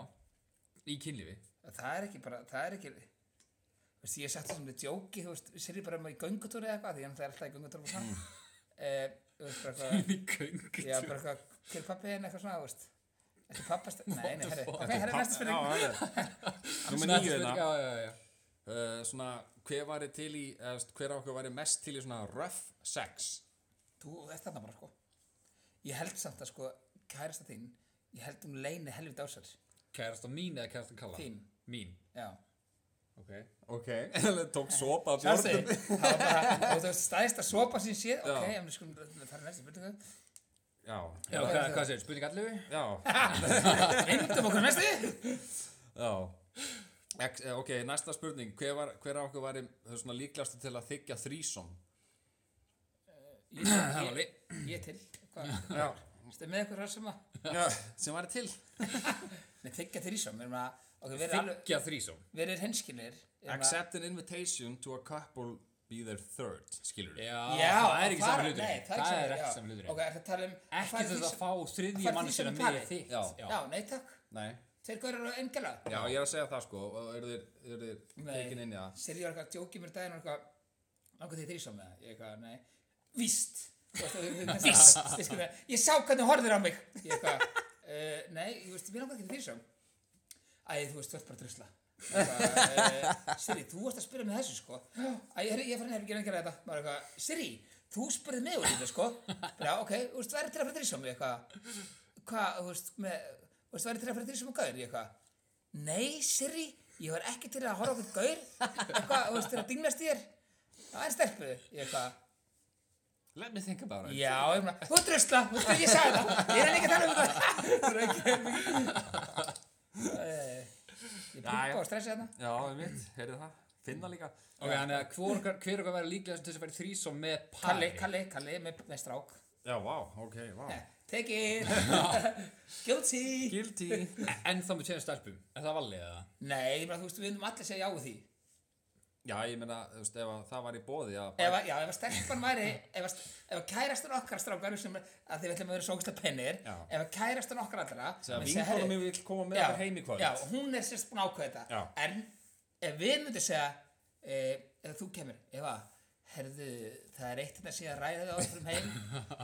í kynlífi
það er ekki bara, það er ekki Þú veist, ég sagt það sem við djóki þú veist, sér ég bara um í göngutúri eða eitthvað því hann það er alltaf í göngutúri og svona Eh, þú veist, bara eitthvað
Í göngu
já, bara eitthvað, hver er pappi þinn eitthvað svona, þú veist Þetta er pappast, nei, nei, herri, ok, herri, næsta spurning
spurning Númer
Svona,
nýju
þetta
hérna
Já, já, já, já
uh, Svona, hver var þið til í, eða st- hver á okkur var þið mest til í svona rough sex?
Þú ert þarna bara, sko Ég held samt að, sko, kærasta þín Ég held hún leini helviti á sér
Kærasta mín eða kærasta kalla?
Þín.
Mín
Já
Ok
Ok Tók sopa af
Sjástu,
bjórnum
það var bara, og þú veist, stæðist að sopa sín séð, ok,
Já.
en við skulum, það er næstu spurningu.
Já,
Já, hvað, hvað segir, spurning allu?
já
Reyndum okkur næstu?
Já Ex- eh, Ok, næsta spurning Hver, var, hver af okkur var svona líklastu til að þykja þrísom?
Ég,
Það var
ég,
lei-
ég, ég til Hvað? Stið með eitthvað sem að
Sem væri til
Nei, þykja þrísom Við erum að Ok, við erum alveg
Þykja þrísóm
Við erum henskilir
Accept an invitation to a couple be their third Skilur
Já,
við
það er ekki
fara-
saman hlutur
Nei, það
Það er
já.
ekki saman hlutur
Ok, ertu að tala um að
Ekki
fara
til þess að
þrísom-
fá
fara
þriðja
þrísom
mannsina
í
með
pari.
þitt
Já.
Já, nei takk
Nei
Þeir hverjar og engela
Já, ég er að segja það sko Og eru þeir, eru þeir
Nei.
tekin inn í það
Sirri var eitthvað að djóki mér daginn og eitthvað Langar þið þrísom með það? Ég eitthvað, nei Víst Víst Ég sá hvernig horfðir á mig Ég eitthvað uh, Nei, ég veist, mér langar ekki þrísom Æ, þú veist, þú ert bara drusla uh, Sirri, þú varst að spyrja mig þessu sko Æ, ég, ég fann ekki að gera þetta Maður eitthvað, Sirri, þú spurði mig úr þetta sko Já, ok, þú veist, væri til að fara þrísom eitthvað Hvað, þú veist, með Þú veist, væri til að fara þrísom og gauður Ég eitthvað Nei, Siri, ég var ekki til að horfa okkur gaur eitthvað, þú veist, til að dinglast þér það er stelpu, ég eitthvað
Let me think about it
já, ég meina, þú ert rusla, þú veist, ég sagði það ég er hann ekki að tala um það Þú er ekki- Eh, ég
Já, já.
pípa og hérna. stressa þarna
Já, ég veit, heyrðu það Finna líka
Ok, þannig að hvor okkar- hver okkar væri líklegast til þess að færi þrísóm með
Kalli,
pari
Kalli, Kalli, með, með strák
Já, vá, ok, vá
take it guilty
Guilty
En þá með tveim stelpum Er það valið eða?
nei, ég meina, þú veist, við myndum allir að segja já við því
Já, ég meina, þú veist, ef að það var í bóði að
ef, að- já, ef að stelpan væri ef, að- ef að kærastan okkar strákar sem, að þið ætlum að vera sókist að pennir
Já.
ef að kærastan okkar allra
Segja,
myndi "Heyrðu,
vinkonum mín vill koma með okkur heim í kvöld."
já, hún er sérst búin að ákveða þetta
Já.
en ef við myndum segja e, ef þú kemur, ef að herðu, það er eitt hérna síðan að ræða þig áður fyrir heim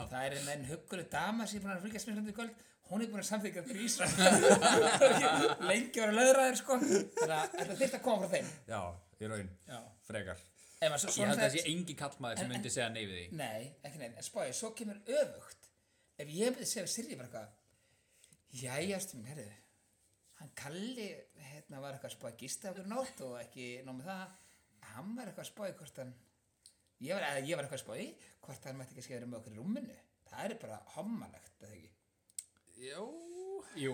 það er með enn hugguleg dama sem er búin að fylgjast mér hérna í kvöld hún er búin að samþykja því Ísland lengi var að löðra þér sko þannig að þetta þyrfti að koma frá þeim
Já, í raun
Já.
Frekar
Ef maður svo-
Ég held að
svona-
það sé engin kallmaður sem myndi segja nei við því
Nei, ekki neinn, en spáði, svo kemur öfugt ef ég myndi segja Sirri bara eitthvað jæja, stu mín, herðu hann Kalli, hérna var eitthvað að spáði gista okkur í nótt og ekki nóg með það hann var eitthvað að spáði hvort hann ég var, eða ég var eitthvað að spáði hvort hann mætti ekki að skefra með okkur í rúminu það er bara hommalegt, eða ekki
Jú,
Jú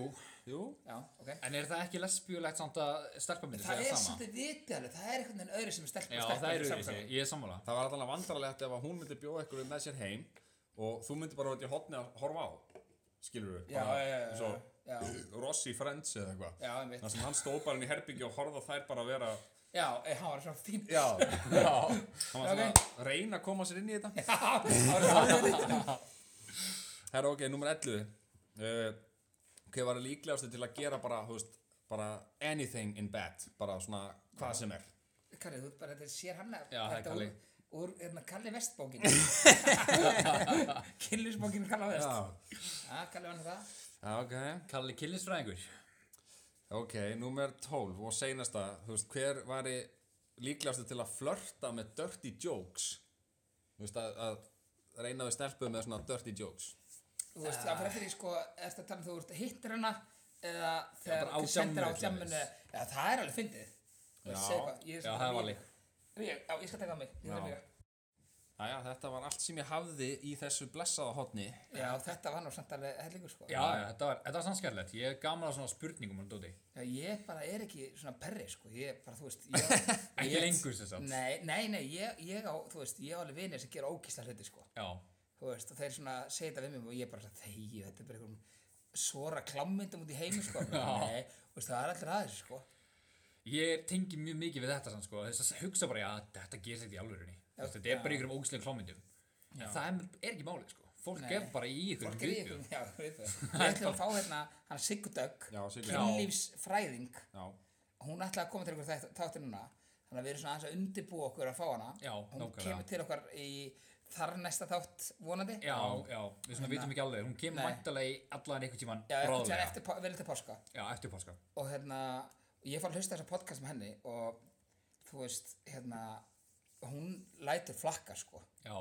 jú
já, ok
En er það ekki lesbjulegt samt að stelpa myndi
það
segja
er
sama?
svolítið vitið alveg, það er einhvern veginn öðru sem er stelpa
Já,
stelpa
það er
sem
öðru
samsama.
Ég er sammála
Það var alltaf vandrarlegt ef að hún myndi bjóða ykkur með sér heim og þú myndi bara út í hotni að horfa á skilur við,
Já, já, já, já,
svo
já.
Rossi Friends eða eitthvað
Já, einmitt.
þar sem hann stóð bara inn í herbyggju og horfði á þær bara að vera
já, eh, hann var svona fín
já, já hann var svona
Ok.
að reyna að koma sér inn í þetta
hann var svona fín
Herra ok, nummer 11 uh, Hvað var líklegastu til að gera bara, þú veist, bara anything in bed bara svona hvað sem er
Kalli, þú ert bara, þetta er sér hann
Já, það er Kalli.
Úr, úr hérna, Kalli Vestbókin Killisbókin Kalli Vest Já, Kalli var hann það
ok
Kalli kynlisfræðingur
Ok, númer 12 og seinasta, þú veist, hver var líklegastu til að flörta með dirty jokes? Þú veist, að, að reyna við stelpu með svona dirty jokes.
Þú veist, það fyrir eftir í sko, eftir að tala um þú ert hittir hana eða þegar
bara á
þú sendir á
djamminu,
djamminu
til
Já, það er alveg fyndið Þú veist,
Já.
segðu eitthvað, ég er
Já,
svona-
það var lík
Ég- Já, ég skal taka á mig ég
Já.
þarf líka.
Æja, þetta var allt sem ég hafði í þessu blessaða hotni.
Já, þetta var nú samt alveg hellingur sko
Já, já, þetta var, þetta var samskjærlegt Ég er gaman á svona spurningum um hann dóti
Já, ég bara er ekki svona perri sko Ég bara, þú veist ég,
Ekki lengur sem sagt
Nei, nei, nei, ég, ég á, þú veist, ég á alveg vinir sem gera ókísla hluti sko
Já
þú veist, og þeir svona segja þetta við mér og ég bara svona, þegi, þetta er bara einhverjum svora klammyndum út í heimi sko Nei, þú veist, það er allir aðeins sko
Ég tengi mjög mikið við þetta samt, sko, þess að hugsa bara að þetta gerist ekki í alvörunni Þú veist, þetta er bara ykkur um ógislega klámyndum en það er, er ekki málið sko. fólk
Nei.
er bara í ykkur
Fólk er í
viðbjöðum
ykkur, já, við þau Við ætlum að fá hérna, hann Siggu Dögg
Já, Siggu.
kynlífsfræðing
Já.
hún ætlaði að koma til ykkur þætt- þáttir núna þannig að við erum svona aðeins að undirbúa okkur að fá hana
Já,
hún
nákvæmlega.
kemur til okkar í þar næsta þátt vonandi
Já, já, við svona vitum ekki alveg, hún kemur mæntalega í allan einhvern tíman
já eftir,
bráðlega,
tíðan eftir, pá- vel til páska
já, eftir páska
og hérna ég fór að hlusta þessa podcast með henni og þú veist, hérna hún lætur flakka sko
Já,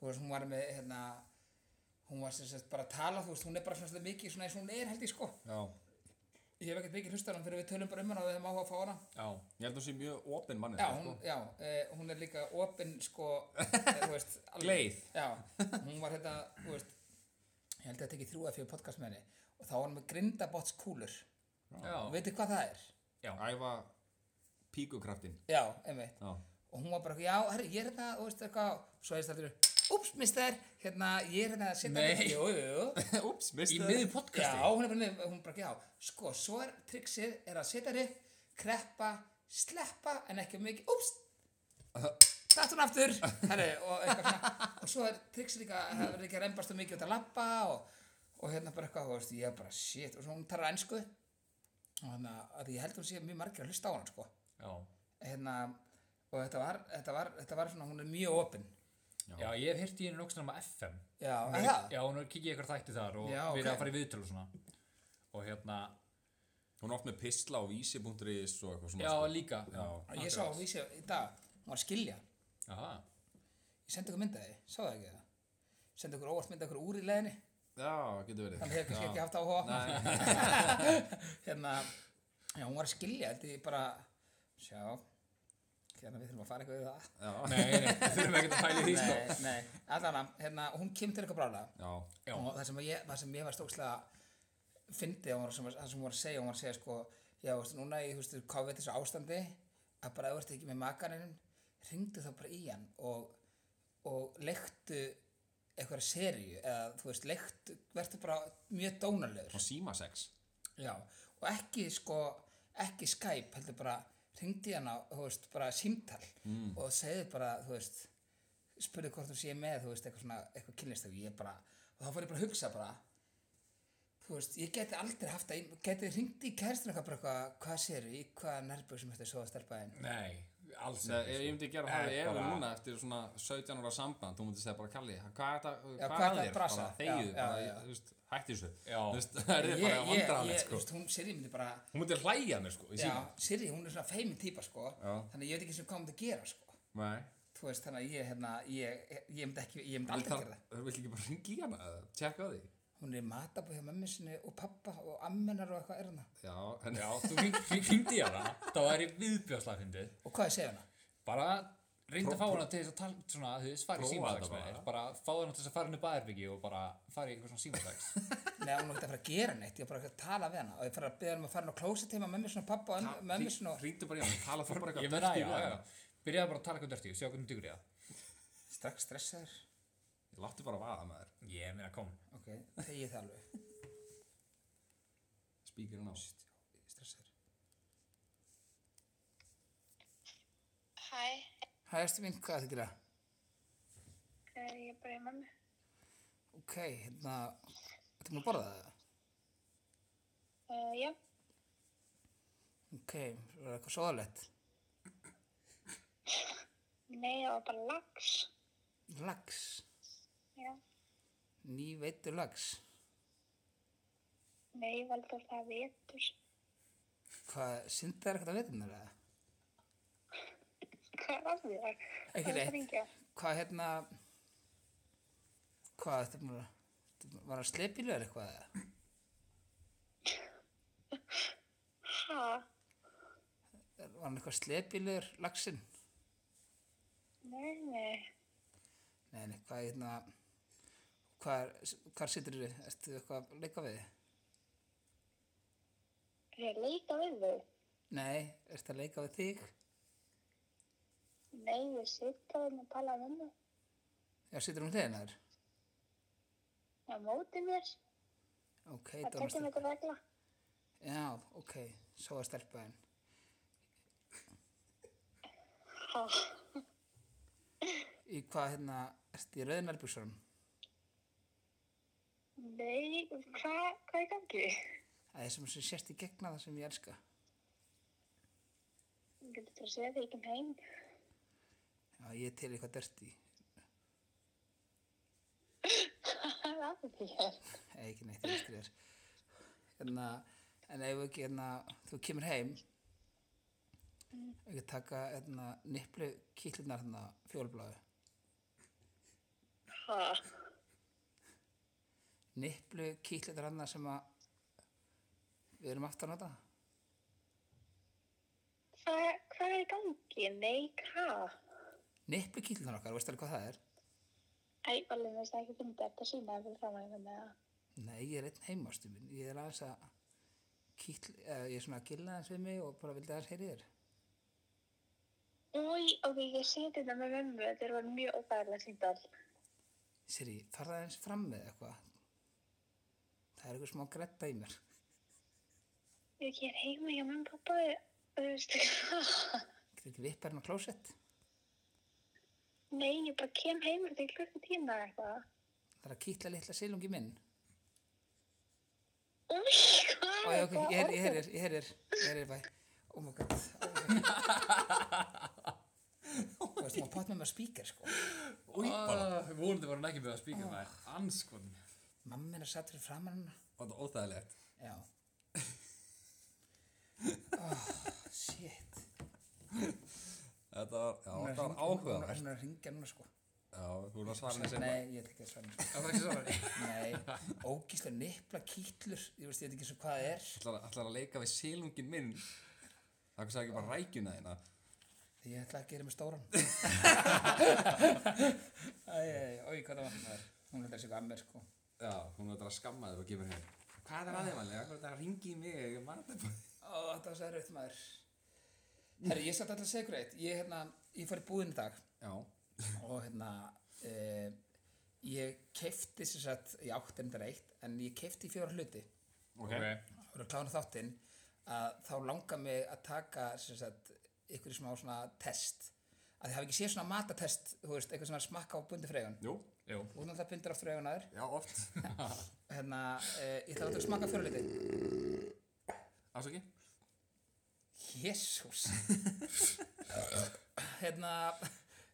þú veist, hún var með, hérna hún var sem sagt bara að tala, þú veist, hún er bara svona svolítið mikið svona eins og hún er held ég sko
Já.
ég hef ekkert mikið hlustar hann fyrir við tölum bara um hana og við höfum áhuga að fá hana
já,
Ég held að hún sé mjög opinn mannir.
já, hún, já, uh, hún er líka opinn sko, eh, þú veist alveg-
Gleið.
já, hún var hérna, þú veist ég held að þetta ekki þrjú að fyrir podcast með henni og þá var hann með grindabotts kúlur
já,
og veitir hvað það er?
já,
sko. Æfa píkukraftin
já, einmitt
Já,
og hún var bara, já, herri, ég er hérna, þú veist eitthvað svo hefðist alltaf, ups, mister hérna, ég er hérna að setja
Nei.
jú, jú, jú
úps,
Í
mistu
miðjum
já,
podcasti?
hún er bara, niður- hún bara, já, sko, svo er triksið er að setja riff, kreppa sleppa, en ekki mikið, ups datt hún aftur herri, og eitthvað svona og svo er triksið líka, það verður ekki að rembast þú mikið út að labba og, og hérna bara eitthvað, þú veist, ég er bara, shit, og svo hún tarar ennsku og þannig að ég held hún sé mjög margir að hlusta á hann, sko
Já.
hérna, og þetta var, þetta var, þetta var svona, hún er mjög opinn
Já, ég hef hirt í henni nokkuð um FM.
Já,
Hún
er
er-
það?
Já, hún er kikið ykkur þætti þar og
Já,
við
ok.
erum að fara í viðtöl og svona. Og hérna,
Hún er oft með pistla á vísi.is og eitthvað svona
já,
sko.
líka.
Já.
Ég sá á vísi í dag, hún var að skilja Ég
Aha.
sendi ykkur myndaði, sá það ekki það Sendi ykkur óvart myndaði ykkur úr í leðinni
Já, getur verið
Þannig hefur kannski ekki haft áhuga á honum. Hérna, já, hún var að skilja Þetta er bara, sjá Hérna, við þurfum að fara eitthvað við það
Já,
Nei, nei, við þurfum ekkert að pæli því, sko.
Nei, nei, allan að, hérna, hún kemur til eitthvað brála
já,
Já.
og það sem ég, það sem ég var stókslega fyndið, það sem, það sem hún var að segja hún var að segja sko, já, veistu, núna í, þú veist, COVID þessu ástandi að bara ef þú ert ekki með makaninn ringdu þá bara í hann og, og leiktu eitthvað seríu eða þú veist, leiktu, verður bara mjög dónalegur
og síma sex
já, og ekki sko ekki Skype, heldur bara ringdi hann á, þú veist, bara símtal mm. og segði bara, þú veist spurði hvort þú sé með, þú veist, eitthvað svona eitthvað kynlist og ég bara, og þá fór ég bara að hugsa bara þú veist, ég geti aldrei haft að, geti ringdi í kærstun eitthvað bara eitthvað, hvað séru, í hvaða nærbjöksum þetta svo að stelpa þinn
Nei, alls
Nei, ef ég myndi gera það
Eh,
við Evu
bara-
núna eftir svona 17 ára samband, þú myndi segja bara Kalli, hvað er það,
Já,
hvað
hvað ertu að
er það þér,
brasa?
bara
Já,
þegið,
já,
bara,
já.
þú veist, hætti þessu,
Já.
þú veist, það er
ég,
bara
ég,
vandrarlegt,
ég, þú
sko.
veist, hún séri myndi bara
Hún myndi hlæja mér, sko, í
já,
síma.
séri, hún er svona feimin típa, sko
Já.
þannig að ég veit ekki sem hvað hún myndi gera, sko
Nei,
þú veist, þannig að ég, hérna, ég, ég, ég myndi ekki, ég myndi
aldrei
aldrei
þar,
gera það
þú vilt eh, ekki bara ringi í hana, eða tjekka á því.
hún er í matabóð hjá mömmu sinni og pappa og ammenar og eitthvað er hana
Já, en
Já, þú hringdi ég hana, þá er ég viðbjörslega fyndið.
og hvað segir hana?
Bara reynda að fá hana til þess að tala, svona, þú veist, fara í
Prófa
símasags
þetta
með
bara.
þér. Bara fá hana til þess að fara inn í baðherbyggi og bara fara í eitthvað svona símasags.
Nei, hún er ekki að fara að gera neitt, ég er bara ekki að tala við hana og ég fara að beða hann að fara hann á klósa tíma mömmu sinni og pappa og ömmu- mömmu sinni og
ringdu bara í hana, tala þú bara
ég
eitthvað
meina,
dökkt í
já,
við
já,
hana.
já. Byrjaði bara að tala eitthvað dörti og sjá hvernig dugur ég það.
strax stressaður
Láttu bara vaða, maður,
Ég meina, kom.
ok, þegi það alveg,
spíkirinn á.
stressaður
Hæ,
Hæ, erstu mín, hvað þykir það?
Eh, ég er bara í mammi.
Ok, hérna, ertu múin að borða það?
Uh, já,
Ok, svo er eitthvað svoðalett
nei, það var bara lax.
Lags,
Já,
nýveitur lags
nei, Valdur, það er vetur.
Hvað, syndað er eitthvað að veitum þar eða?
Hvað er að því þar?
Ekki
Hvað er
neitt.
að hringja?
Hvað hérna, hvað, ertu múin að, var það sleppilu eða eitthvað eða?
Ha,
Var hann eitthvað slepilegur laxinn?
nei, nei,
Nei, nei, hvað hérna Hvar, hvar situr þér? Ertu eitthvað að leika við? þig?
er ég að leika við þau?
Nei, ertu að leika við þig?
Nei, ég sitt að þeim að tala við mig.
Já, situr hún hliðin þar?
Það er mótið mér,
Ok,
það
dóna
tekja mig
stelpa.
til regla.
Já, ok, svo að stelpa henn.
Ha,
Í hvað hérna, ertu í rauðinarbúsunum?
nei, hvað, hvað er í gangi?
Það er sem sem sérst í gegna það sem ég elska.
Ég getur bara að segja þegar ég kem heim.
Já, ég er til í eitthvað dörti.
Hvað er að því þér?
Eða ekki neitt, ég skriðar. Hérna, en ef ekki, hérna, þú kemur heim, ekki taka, hérna, niplu kýtlunar hérna, fjólbláðu.
Ha,
niplu kýtletar annað hérna sem að við erum aftur að nota
hvað, hvað er í gangi? Nei, hvað?
niplu kýtletar okkar, veistu alveg hvað það er?
Æ, Valdur, mér finnst það ekki fyndið eftir sína ef við framægum með það.
Nei, ég er einn heimastu minn ég er aðeins að kýtl, eða ég er svona að gilla aðeins við mig og bara vildi aðeins heyri þér
Új, ok, ég seti þetta með mömmu, þetta var mjög óþægilega síndal.
Siri, farða eins fram með eitthvað Það er eitthvað smá gretta í mér
Ég er heima hjá mömmu og pappa og þú veist hvað.
Getur ekki vippar hennar klósett
Nei, ég bara kem heim til klukku tíma eða eitthvað.
Það er að kýtla litla silungi minn
Új,
Ó,
hvað
já,
er
ok, ég heyrir, ég
orðið?
heyrir, ég heyrir Ég heyrir bæ Oh my god Þú veist, maður pott með mér spíker sko
Ah, Vonandi var hann ekki með að spíka það er anskotn
Mamma minn er satt fyrir framan hennar
var þetta óþægilegt
Já oh, Shit
þetta var, já,
Hún er að
þetta var
hringja- hún-
áhugavert
Hún er að ringja núna sko
já, þú var svarin sem
Nei, ég ætla ekki að svara henni,
Það var ekki svara
sko. Nei, ógíslega nipla kýtlur Ég veist, ég veit ekki svo hvað það er
ætlar, ætlar að leika við silungin minn það kannski ekki bara rækjuna þína
Ég ætla að gera mig stóran Æ, oi, hvað það var maður. Hún ætla að sé hvað að mér sko
já, hún var þetta að skamma þér og kemur hér hvað er aðeins manlega, hvað er þetta að ringi í mig ég er maður þetta
Ó, þetta var svo erfitt maður Herri, ég satt alltaf að segja ykkur eitt Ég, hérna, ég fór í búðin í dag
já,
og hérna uh, ég kefti sér satt, ég átti endur eitt en ég kefti fjóra hluti
ok,
og að klána þáttinn að þá langar mig að taka sem sagt, ykkur smá svona test að ég hafi ekki séð svona matatest þú veist, eitthvað svona smakka á bundi freygun
jú,
Jú,
og þannig að bundir aftur freygun aður
já, oft
hérna, uh, ég ætla að láta ykkur smakka fjóra hluti
afsaki,
jésús hérna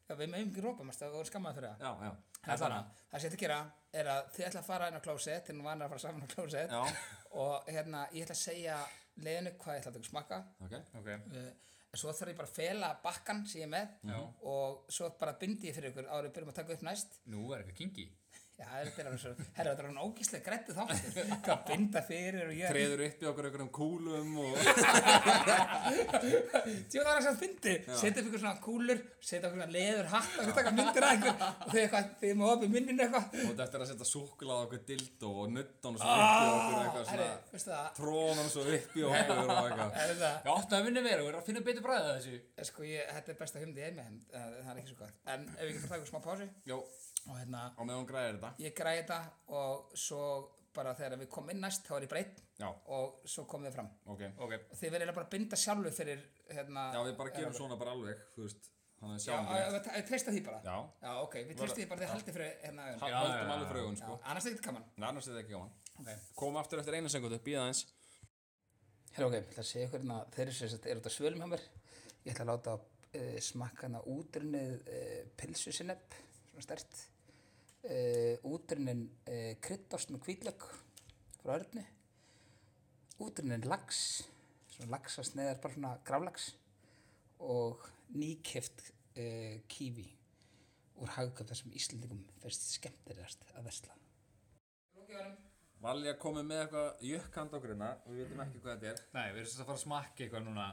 já, við meðum ekki rópa, mást það voru skammaði fyrir það
já, já
Það er þannig, það sem ég ætla að gera er að þið ætla að fara inn á klósett, þið nú vanar að fara saman á klósett
Já.
og hérna, ég ætla að segja leiðinu hvað ég ætla að taka smakka
ok,
ok
uh, en svo þarf ég bara að fela bakkan sem ég er með
Já.
og svo bara bindi ég fyrir ykkur árið við byrjum að taka upp næst
Nú er eitthvað kingi
Já, það er þetta svo, herra, þetta er hann ógíslega grætti þáttir hvað að binda fyrir og ég
treður upp í okkur einhverjum kúlum og
Tjóð var að segja fyndi, setja upp ykkur svona kúlur setja okkur svona leður hatt og taka myndir að ykkur og þið eitthvað, þið má opið minninu eitthvað
og þetta er að setja súkulað okkur dildó og nuttan og svo upp í okkur
Ah,
eitthvað
Herri,
svona
veistu það,
tróðan svo upp í okkur og eitthvað
er það
Ég átti að vinna meira og er að finna betur bræðið þessu
Sko ég, þetta er besta humdi heimi en uh, það er ekki svo gott En ef við ekki bara taka smá pási
Jó,
og hérna,
á meðan hún græðir þetta
ég græði þetta og svo bara þegar við komum inn næst þá er ég breytt
Já,
og svo komum við fram
ok
Ok,
og þið verður eiginlega bara að binda sjálfu fyrir hérna
Já, við bara gerum svona bara alveg, þú veist Þannig að sjáum
Já,
við
við við treysta því bara
Já,
Já, ok, við treysta því bara þið haldið fyrir hérna augun.
Ha-
Já, já,
höldum
já,
alveg
já.
frögun,
Já,
sko
annars er þetta gaman
Nei, annars er þetta ekki gaman
okay.
Komum aftur eftir einu segundu, býða eins
Hérna ok, ég ætla að segja ykkur hérna þeirri sem þetta er út af svölum hjá mér ég ætla að láta uh, smakka hérna útrunnið uh, pilsusinepp svona stert uh, útrunnin uh, kryddást með kvítlögg frá örnu útrunnin lax svona laxasneiðar bara svona grálax og nýkeft uh, kífi úr hagkjöf þar sem Íslandingum fyrst skemmtilegast að versla
Valja komið með eitthvað jökkand okkur hérna Við veitum ekki hvað þetta er
nei, við erum svolítið að fara að smakka eitthvað núna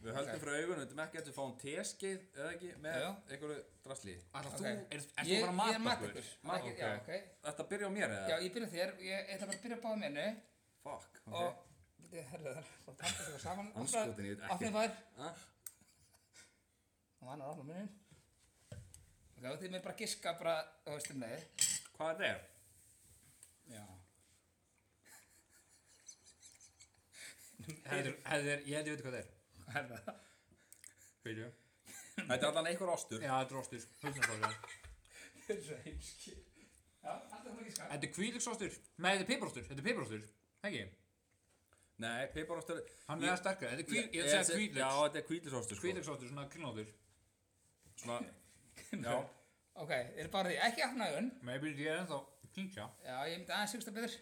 Við höldum okay. frögun, við veitum ekki að við fáum teskeið eða ekki með
Já.
einhverju drasli
Ætla,
Ok.
þú, er, er þú bara að mata okkur?
Mat,
Ok.
Já, ok
Þetta byrja á mér
Já,
eða?
ég byrja á þér, ég ætla bara að byrja að báða mérnu
Fuck, ok
og Bíddu, herðu, það er bara að panta þetta saman
Andskotin, ég veit ekki.
Opnið var
Ha?
Og hann er opnað minnin Ok, og þið með bara giska bara Þú veist um leið
Hvað þetta er?
Já
Hefðir, hefðir, ég held ég veit hvað það er
Hvað er það?
Veitu?
Þetta er allan einhver ástur
Já, þetta er rostur, hulsnarsóstur
Þetta er svo heimski Já, alltaf það giska
Þetta er kvíliksóstur, nei þetta er piparostur, þetta er piparostur Ekki,
Nei, piparostur
hann er að sterkra, þetta er kvíl, ég
Ég-
ætla að
ég-
segja
Já,
kvíliks
þetta er kvílisostur sko.
Kvíliksóstur, svona kringlóttur
Svona, já,
Ok, eru bara því ekki opnað augun
Maybe ég er ennþá klinja
Já, ég myndi aðeins hugsta betur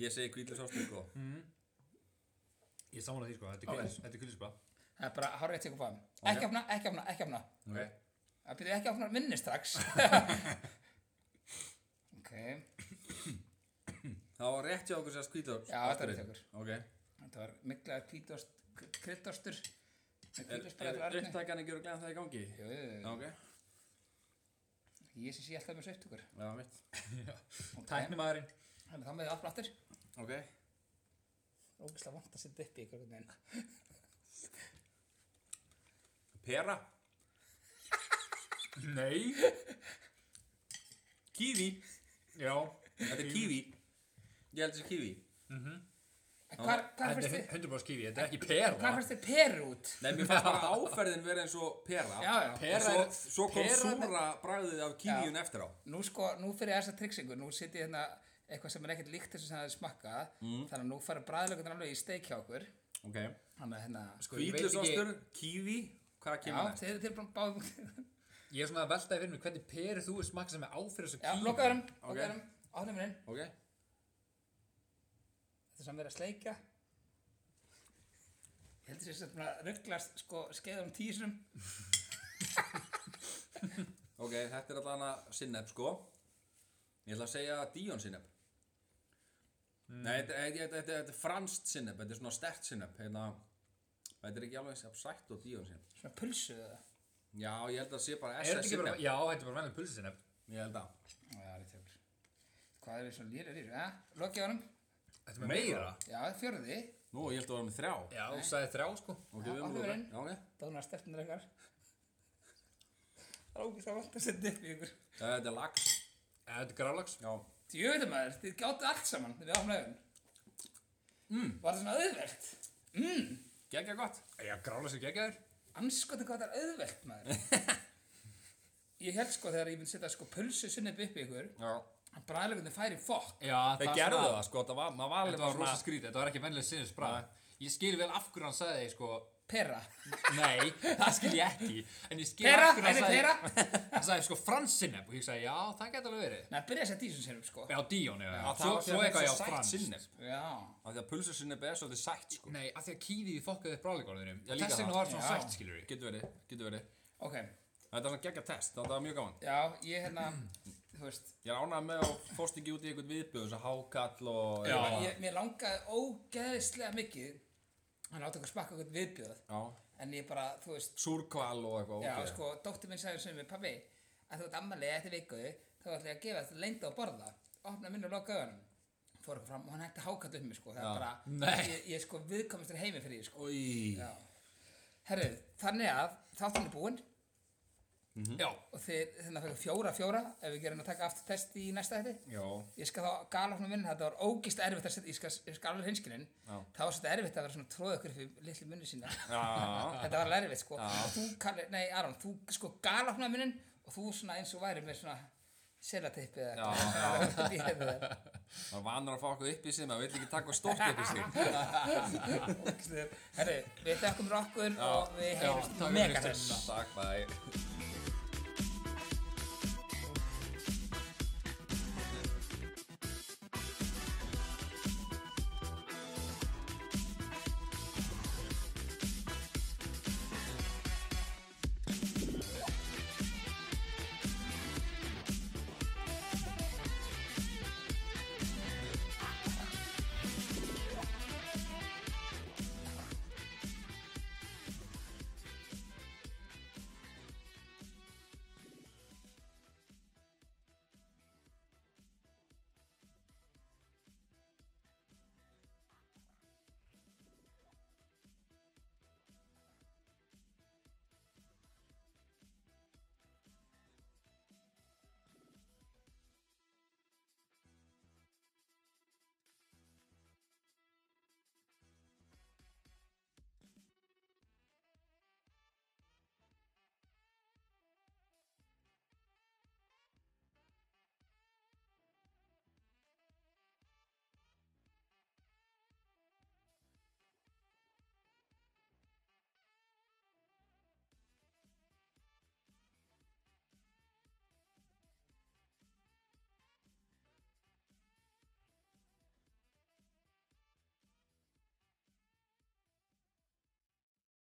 ég segi kvílisostur sko.
Ég samanlega því sko, þetta er kvílis, þetta er kvílisbra
Það er bara hárið eitt ykkur báðum Ekki opna, ekki opna, ekki opna
okay.
Það byrja ekki opna minni strax Ok,
Það var rétt hjá okkur sérst kvílisostur
Já, þetta var rétt hjá okkur.
Ok,
þetta var miklaður kvítost Kryddostur
er,
Kvítospræður
er upptakan ekki örglega það í gangi?
Jú, jú, jú.
Já, ok,
Ég syns ég alltaf með þessu upptökur.
já, mitt
Tæknimaðurinn
Þannig þá með þið aftur aftur.
Ok,
Ógislega vant að setja upp í ykkur veginn.
Pera,
Nei
kífi
Já
Þetta er kífi Ég held þessi kífi
En hvar, hvar
Þetta
fyrst
er
þið,
100% kífi, þetta er ekki pera
hvar fyrst þið peru út?
Nei, mér fannst bara áferðin verið eins og pera
Já, já.
Og
Pera
svo,
er-
svo kom
pera-
súra bragðið af kífíun eftir á
Nú sko, nú fyrir þessa triksingu, nú sit ég hérna eitthvað sem er ekkert líkt þessu sem það er smakkað þannig að nú fara bræðlökunar alveg í steik hjá okkur
Ok
þannig að hérna
Sko, ég veit ekki-
Hvítlösostur, kífi, hvað
Já,
kemur næst?
þeir eru bara báðum
Ég er svona að velta í fyrir mig hvernig peri þú er smakka sem er áfyrir þessu
Já,
kífi
lokaðurum,
Ok.
lokaðurum, áhrifum minn
Ok
Þetta er samt verið að sleika Ég heldur þess að búin að rugglast sko skeiðum tísum
Ok, þetta er allan að sinneb sko Ég ætla að segja Dion sinneb
Mm.
Nei, þetta, þetta, þetta, þetta, þetta er franskt sinneb Þetta er svona stert sinneb hérna, Þetta er ekki alveg sem sætt og Dion sinneb
Svona pulsuðu það
Já, ég held að það sé bara
Er þetta
SS
ekki bara,
sinneb
já, þetta er bara vennið pulsið sinna
Ég held að
Já, það er tjóður Hvað er svona lýrið í þessu, eh? Lokið honum
Þetta er
Meira?
Já, fjörði
Nú, ég held að það var með þrjá
Já, þú sagði þrjá sko
Ok,
Já,
við erum
alveg
lúka
einn.
Já, ok
Dónar stelpunar ykkar Það er ógist að valda að setja upp í ykkur
Já, Eh, Þetta er lax
Eða þetta er grálags
Já
Djöðu maður, þið gáttu allt saman þegar við áfum lögum mm. Var það svona auðvelt? Mm.
Gekka gott
Já, grálags er geggjaður
Anskotin hvað það er auðvelt maður Ég held sko þegar ég myndi setja sko pulsu sunnið upp í ykkur
Já
að bræðlegunni færi fokk
Já,
Þeir gerðu það sko, það var, maður var alveg
Þetta var
bara
rosa
svona
skrítið, þetta var ekki vennileg sinnes bragð Ég skil vel af hverju hann sagði sko
Perra
Nei, það skil ég ekki En ég skil
Pera,
af hverju hann
er þið
sagði
pera?
Hann sagði sko fransinneb og ég sagði já, það geta alveg verið
Nei, byrja þess að dísun sérum sko
Já, Díón, já, já. Svo,
Það var því
svo
að
eitthvað já,
þetta er sætt sko.
frans
sinneb
Já
Af því að pulsu sinneb er svolítið sætt sko
Nei, af því að kífið fokkaði upp bráleikorðunum
Já, líka
Þess vegna
það.
var svona
Já.
sætt, skilur við
Getur verið, getur verið
Ok,
Þetta var svona gegga test, þetta var mjög gaman
já, ég hérna, þú veist
Ég er ánægð með að fórst ekki út í einhvern viðbjöð þess að hákall og
Já.
ég, Mér langaði ógeðislega mikið að láta okkur smakka okkur viðbjöð
Já.
En ég bara, þú veist
Súrkval og eitthvað
Já,
ógeð.
sko, dóttir minn sagði sem við, pabbi, að þú ert ammalið eftir viku, þá ætla ég að gefa þetta lengda og borða, opna minn og loka augunum. Fór eitthvað fram og hann hætti að hákalla um mig, sko, það
Já.
er bara,
Nei.
ég, ég er sko viðkomistur heimi fyrir því, sko.
Í.
Já. Herru, þannig að þáttan er búinn
Mhm.
Já,
og þið, þannig að fyrir fjóra fjóra, ef við gerum að taka aftur test í næsta þetta.
Já.
Ég skal þá gala ofna minn, þetta var ógist erfitt að setja, ég skal, ég skal alveg hinskilinn,
Já.
það var svolítið erfitt að vera svona tróð ykkur fyrir litli munni sína.
Já.
Þetta var alveg erfitt sko Þú, Kalli, nei Aron, þú sko galopna minnin og þú svona eins og væri með svona selateipi eða
Já,
eitthvað. Ég hefði það.
Það er vanur að fá okkur upp í sig, maður vill ekki taka stórt upp í sig.
Ógeðslega. Herru, við þekkum rokkur og við
já,
heyrjumst
takk fyrir
mega þess
hlustuna.
Takk, bæ.